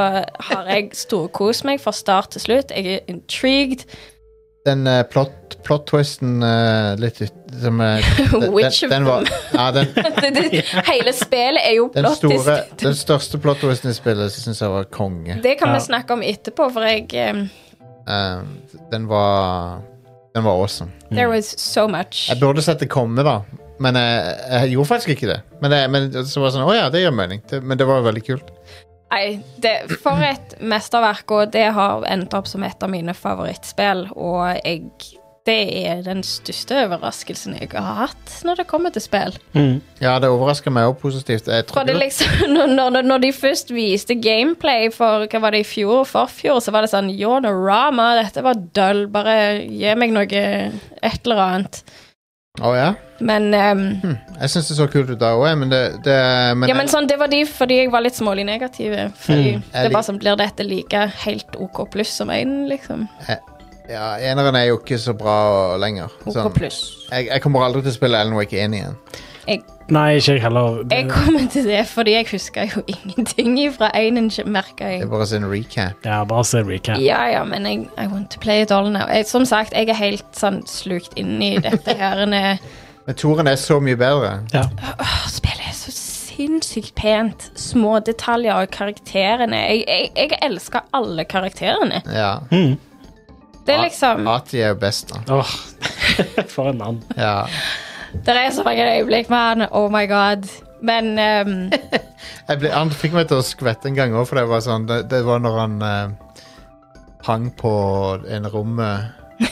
har jeg storkost meg fra start til slutt. Jeg er intrigued. Den eh, plot, plot-twisten eh, litt ut, som eh, den, Which of den var, ja, den, Det, det, hele spillet er jo den, plottisk. store, den største plot-twisten i spillet syns jeg var konge. Det kan Ja. vi snakke om etterpå, for jeg um, Eh, den var Den var awesome. There was so much. Jeg burde sett det komme, da. Men jeg, jeg gjorde faktisk ikke det. Men, jeg, men så var det sånn Å ja, det gjør mening. Det, men det var veldig kult. Nei, det, for et mesterverk, og det har endt opp som et av mine favorittspill. Og jeg Det er den største overraskelsen jeg har hatt når det kommer til spill. Ja, det overrasker meg òg positivt. Jeg For det trodde- liksom, når, når, når de først viste gameplay for hva var det i fjor og forfjor, så var det sånn Yonorama, dette var døll, bare gi meg noe et eller annet. Å ja? Men ehm, Jeg syns det så kult ut da òg, men det, det men Ja, men sånn, Det var de fordi jeg var litt smålig negativ. eh, Fordi det Jeg var lik- sånn, Blir dette like helt OK pluss som én, liksom? Ja, eneren er jo ikke så bra lenger. OK Sånn. pluss. Jeg, jeg kommer aldri til å spille Alan Wake 1 igjen. Jeg, Nei, ikke jeg heller. jeg kommer til det fordi jeg husker jo ingenting ifra én, merka Det jeg. er bare sin recap. Ja, bare se recap. Ja, ja, men jeg, I want to play it all now. Jeg, som sagt, jeg er helt sånn slukt inn i dette her. Åh, Men Toren er så mye bedre. Ja. spillet er så sinnssykt pent. Små detaljer og karakterene. Jeg, jeg, jeg elsker alle karakterene. Ja. Det er liksom Ati er jo best, da. Åh, for en mann. Ja. Det er så mange øyeblikk med han. Oh my god. Men ehm, Jeg ble, han fikk meg til å skvette en gang òg, for det var sånn Det, det var når han eh, hang på en rom eh,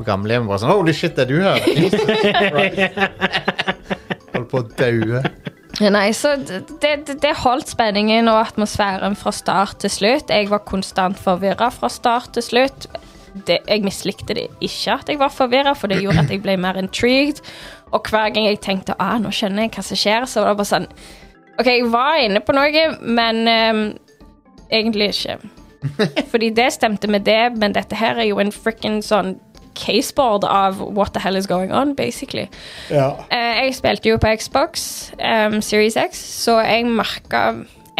på gamlehjemmet bare sånn Holy shit, er du her? Jesus Christ. Holdt på å daue. Nei, så det, det, det holdt spenningen og atmosfæren fra start til slutt. Jeg var konstant forvirra fra start til slutt. Det, jeg mislikte det ikke at jeg var forvirra, for det gjorde at jeg ble mer intrigued. Og hver gang jeg tenkte ah, nå skjønner jeg hva som skjer, så var det bare sånn OK, jeg var inne på noe, men ehm, egentlig ikke. Fordi det stemte med det, men dette her er jo en frikken sånn caseboard av what the hell is going on, basically. Ja. Eh, jeg spilte jo på Xbox ehm, Series X, så jeg merka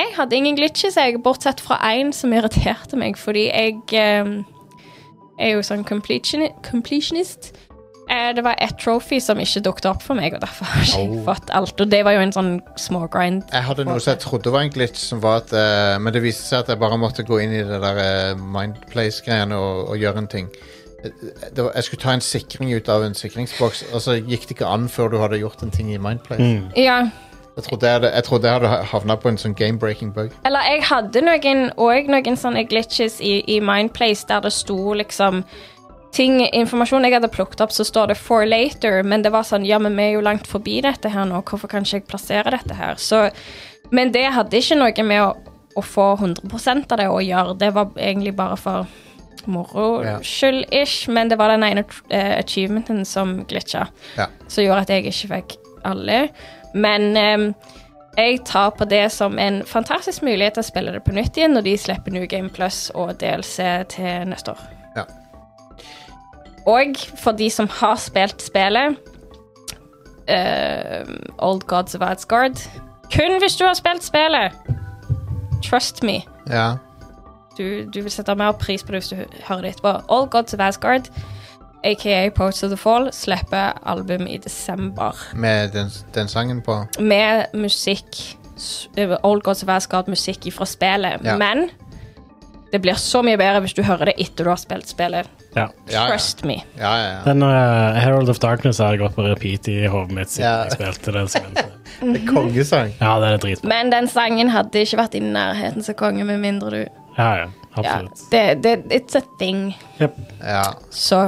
Jeg hadde ingen glitches, jeg, bortsett fra én som irriterte meg, fordi jeg ehm, er jo sånn completion, completionist. Eh, det var et trophy som ikke dukket opp for meg, og derfor har ikke jeg fått alt. Og det var jo en sånn smågrind. Jeg hadde noe som jeg trodde var en glitch, som var at, eh, men det viste seg at jeg bare måtte gå inn i det der eh, Mindplace-greiene og, og gjøre en ting. Eh, Det var, jeg skulle ta en sikring ut av en sikringsboks, og så gikk det ikke an før du hadde gjort en ting i Mindplace. Ja, Jeg, trodde jeg, hadde- jeg trodde jeg hadde havna på en sånn game-breaking bug. Eller jeg hadde noen, og noen sånne glitches i, i Mindplace der det sto liksom ting, informasjon jeg hadde plukket opp, så står det for later, men det var sånn, ja, men vi er jo langt forbi dette her nå, hvorfor kan ikke jeg plassere dette her? Så, men det hadde ikke noe med å, å få 100% av det å gjøre, det var egentlig bare for moro Ja. skyld-ish, men det var den ene eh, achievementen som glitcha Ja. som gjorde at jeg ikke fikk alle. Men ehm, jeg tar på det som en fantastisk mulighet til å spille det på nytt igjen når de slipper New Game Plus og DLC til neste år. Ja. Og for de som har spilt spillet ehm, Old Gods of Asgard Kun hvis du har spilt spillet! Trust me. ja. Du, du vil sette mer pris på det hvis du hører det etterpå. Old Gods of Asgard, aka Poets of the Fall, slipper album i desember. Med den, den sangen på. med musikk s- eh, Old Gods of Asgard musikk ifra spillet, Ja. men det blir så mye bedre hvis du hører det etter du har spilt spillet. ja. Ja, ja. Trust me. Ja, ja, ja. Den eh, Herald of Darkness har jeg gått på repeat i hodet mitt siden Ja. jeg spilte den. så- Det er kongesang. Ja, den er dritbra. Men den sangen hadde ikke vært i nærheten som konge, med mindre du Ja, ja. ja, Absolutt. det, det, It's a thing. Jep. Ja, Så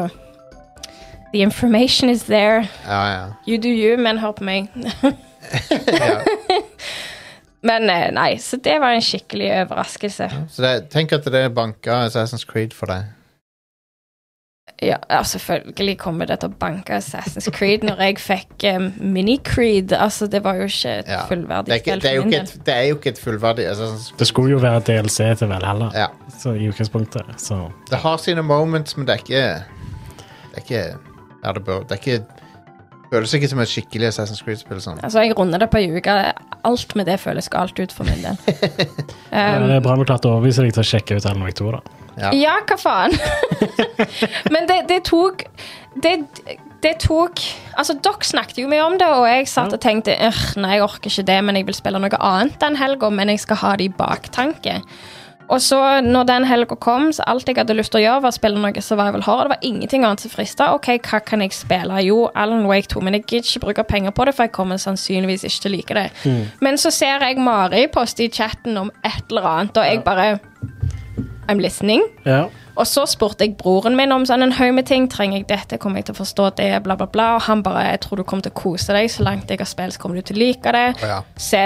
The information is there. ja, ja. You do you, men hør på meg. Men eh, nei, så det var en skikkelig overraskelse. Så det, tenk at det banka Assassin's Creed for deg. Ja, ja, selvfølgelig kommer det til å banke Assassin's Creed når jeg fikk um, Mini-Creed. Altså, det var jo ikke Ja. et Det, er fullverdig ikke, spill det, er jo for min ikke del. et, det er jo ikke et fullverdig Assassin's Creed. Det skulle jo være DLC til Valhalla Ja. så i utgangspunktet, så Det har sine moments, men det er ikke Det er ikke ja, det, bør, det er ikke føles ikke som et skikkelig Assassin's Creed-spill. Sånn. Altså, jeg runder det på ei uke. Alt med det føles galt ut for min del. Ja, Um, Det er bra vi klarte å overbevise deg til å sjekke ut Alan Wake 2, da. ja, hva faen? Men det, det tok det, det tok Altså, dere snakket jo mye om det, og jeg satt og tenkte «Ugh, nei, jeg orker ikke det, men jeg vil spille noe annet den helga, men jeg skal ha det i baktanke. Og så når den helga kom, så alt jeg hadde lyst til å gjøre, var å spille noe survival horror. Det var ingenting annet som frista. OK, hva kan jeg spille? Jo, Alan Wake 2, men jeg gidder ikke bruke penger på det, for jeg kommer sannsynligvis ikke til å like det. Men så ser jeg Mari poste i chatten om et eller annet, og jeg bare I'm listening. Ja. Og så spurte jeg broren min om sånn en haug med ting. Trenger jeg dette? Kommer jeg til å forstå det? Bla, bla, bla. Og han bare Jeg tror du kommer til å kose deg. Så langt jeg har spilt, så kommer du til å like det. Ja. Se,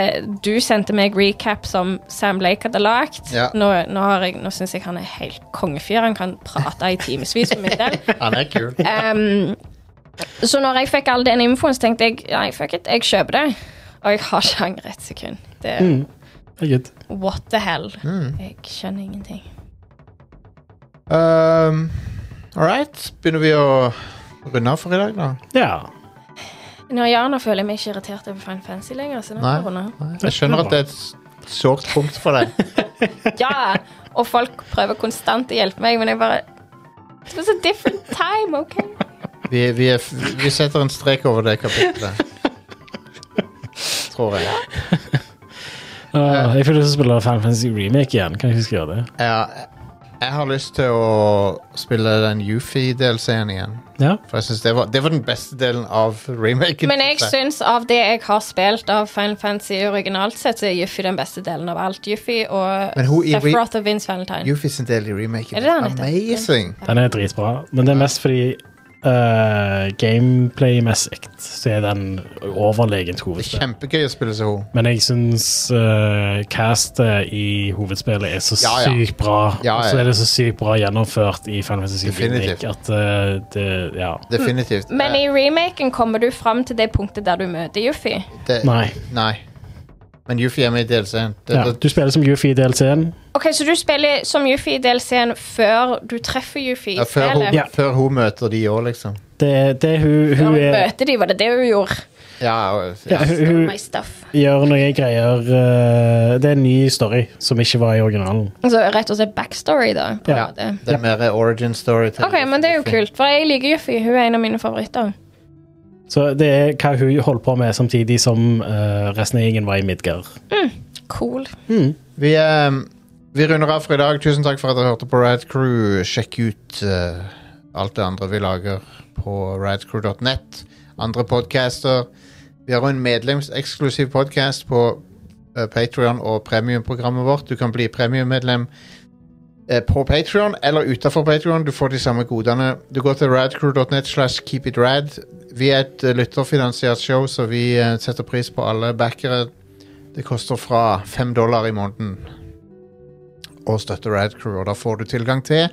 du sendte meg recap som Sam Lake hadde lagt. Ja. Nå, nå, har jeg- nå syns jeg han er helt kongefyr. Han kan prate i timevis for min del. Han er kul. Ehm, så når jeg fikk all den infoen, så tenkte jeg Nei, fuck it, jeg kjøper det. Og jeg har ikke angret et sekund. Det, Mm. Det er good. What the hell? Jeg skjønner ingenting. Um, All right. Begynner vi å runde av for i dag, da? Ja. Når jeg, nå føler jeg meg ikke irritert over Final Fantasy lenger. Så nå Nei. kan vi runde av. Nei. Jeg skjønner at det er et s- sårt punkt for deg. Ja, og folk prøver konstant å hjelpe meg, men jeg bare It was a different time, OK? Vi, vi, er, f- vi setter en strek over det kapitlet. Tror jeg. Uh, jeg føler jeg skal spille Final Fantasy Remake igjen. Kan jeg huske å gjøre det? Ja, Jeg har lyst til å spille den Yufi-delscenen igjen. Ja. For jeg synes det var, det var den beste delen av remaken. Men jeg synes jeg. syns av det jeg har spilt av Final Fantasy originalt sett, så er Yuffie den beste delen av alt. Yuffie og Men hun i re- Sephiroth og Vince Valentine. Yuffie sin del i remaken Er det det han heter? amazing. Den er dritbra, men det er mest fordi eh, gameplay-messig så er den overlegent Det er hovedspill. kjempegøy å spille som hun. Men jeg syns eh, castet i hovedspillet er så Ja, ja. sykt bra. Ja, ja. Og så er det så sykt bra gjennomført i Final Fantasy Definitivt. Remake at eh, det Ja. Definitivt. Mm. Men i remaken kommer du fram til det punktet der du møter Yuffie. Eh, Det- Nei. Nei. Men Yuffie er med i DLC-en. Det- ja. det- Du spiller som Yuffie i DLC-en. Ok, Så du spiller som Yuffie i DLC-en før du treffer Yuffie ja, i før, hun, spillet? Ja. før hun møter de òg, liksom. Det, det hun, Før hun hun er møter de, var det det hun gjorde? Ja, og- ja, hun, hun My stuff. gjør noen greier eh, Det er en ny story som ikke var i originalen. Altså rett og slett backstory, da. På Ja. en måte. Det er mer origin story. Til Ok, men det er jo kult, for jeg liker Yuffie. Hun er en av mine favoritter. Så det er hva hun holder på med, samtidig som eh, resten av gjengen var i Midgard. Cool. Vi, ehm, vi runder av for i dag. Tusen takk for at dere hørte på Rad Crew. Sjekk ut eh, alt det andre vi lager på radcrew.net. Andre podcaster. Vi har en medlemseksklusiv podcast på uh, Patrion og premiumprogrammet vårt. Du kan bli premiummedlem eh, på Patreon eller utenfor Patreon. Du får de samme godene. Du går til radcrew.net slash keepitrad. Vi er et eh, lytterfinansiert show, så vi eh, setter pris på alle backere. Det koster fra 5 dollar i måneden å støtte Radcrew, og da får du tilgang til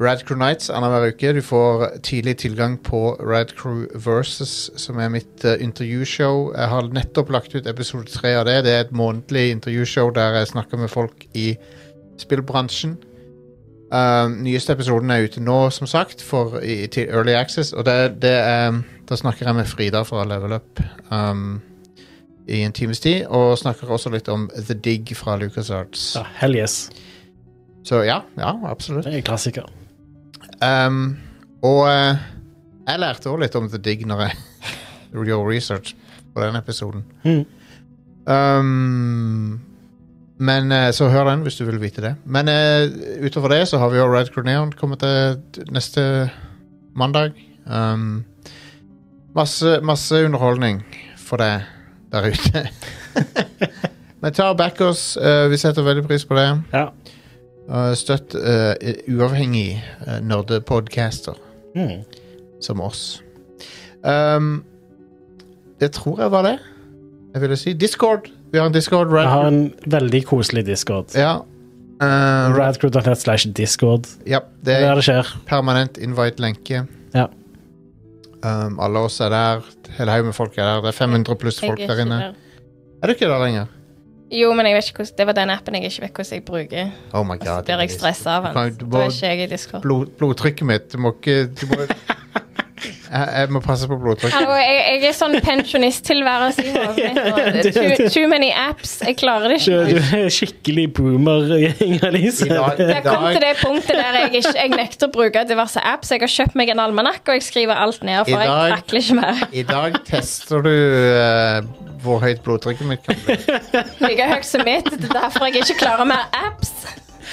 Radcrew Nights annenhver uke. Du får tidlig tilgang på Radcrew Versus, som er mitt eh, intervjushow. Jeg har nettopp lagt ut episode tre av det. Det er et månedlig intervjushow der jeg snakker med folk i spillbransjen. Eh, nyeste episoden er ute nå, som sagt, for, i, til Early Access. Og det, det er, da snakker jeg med Frida fra Level Up um, i en times tid. Og snakker også litt om The Dig fra LucasArts. Ja, hell yes. Så ja, ja, absolutt. Det er en klassiker. Um, og eh, jeg lærte også litt om The Dig når jeg gjorde research på den episoden. Mhm. Um, men eh, så hør den hvis du vil vite det. Men eh, utover det så har vi jo Red Crew Neon kommet til t- neste mandag. Um, masse, masse underholdning for deg der ute. men ta og back oss. eh, vi setter veldig pris på det. Ja. Eh, støtt eh, uavhengig uh, nerdepodcaster Mm. som oss. Um, det tror jeg var det. Jeg ville si Discord. Vi har en Discord. Red, Jeg har en veldig koselig discord. ja. Uh, Radcrew.net slash discord. ja. Det Det er er der det skjer. permanent invite-lenke. Ja. Um, alle oss er der. Hele haugen med folk er der. Det er 500 pluss Jeg folk er der ikke inne. der. Er du ikke der lenger? Jo, men jeg vet ikke hvordan, det var den appen jeg ikke vet hvordan jeg bruker. Oh my Så god. blir jeg Denise. stressa av den. Du kan- Så du Da må- er ikke jeg i Discord. Blod, blodtrykket mitt. Du må ikke du må, jeg, jeg må passe på blodtrykket. Hallo, jeg, jeg er sånn pensjonisttilværelse i hodet mitt. og det er Too, too many apps. Jeg klarer det Du, ikke. du er skikkelig boomer, Inger-Lise. I dag- Jeg i dag- kom til det punktet der jeg, ikke, jeg nekter å bruke diverse apps. Jeg har kjøpt meg en almanakk, og jeg skriver alt ned, I for dag- jeg takler ikke mer. I dag tester du eh, hvor høyt blodtrykket mitt kan bli. Like høyt som mitt. Det er derfor jeg ikke klarer mer apps.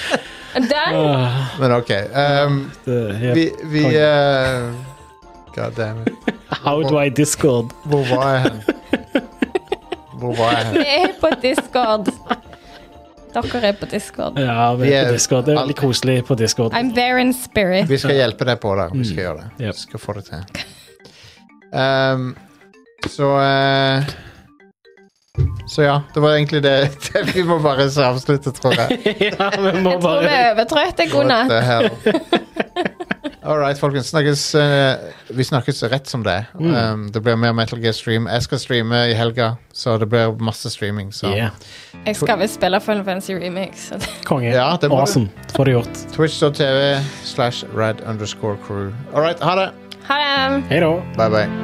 Den Ah, Men OK. Um, vi vi eh, God damn it. How do I discord? Hvor var jeg hen? Hvor var jeg hen? er på Discord. Dere er på Discord. Ja, vi Vi er er- på discord. Det er veldig koselig på discord. I'm there in spirit. Vi skal hjelpe deg på der. Vi skal gjøre det. Yep. Vi skal få det til. Um, så eh, Så ja. Det var egentlig det. Vi må bare så avslutte, tror jeg. Ja, vi må Jeg tror vi bare er overtrøtte. God What natt. the hell? All right, folkens. Snakkes, eh, vi snakkes rett som det. er. Um, det blir mer Metal Gear Stream. Jeg skal streame i helga, så det blir masse streaming. Så. Ja, Jeg skal visst spille Final Fantasy Remix. så det- konge. Ja, det må du. Awesome. Får det gjort. Twitch.tv slash rad underscore crew. All right, ha det. Ha det. Hei da. Bye, bye.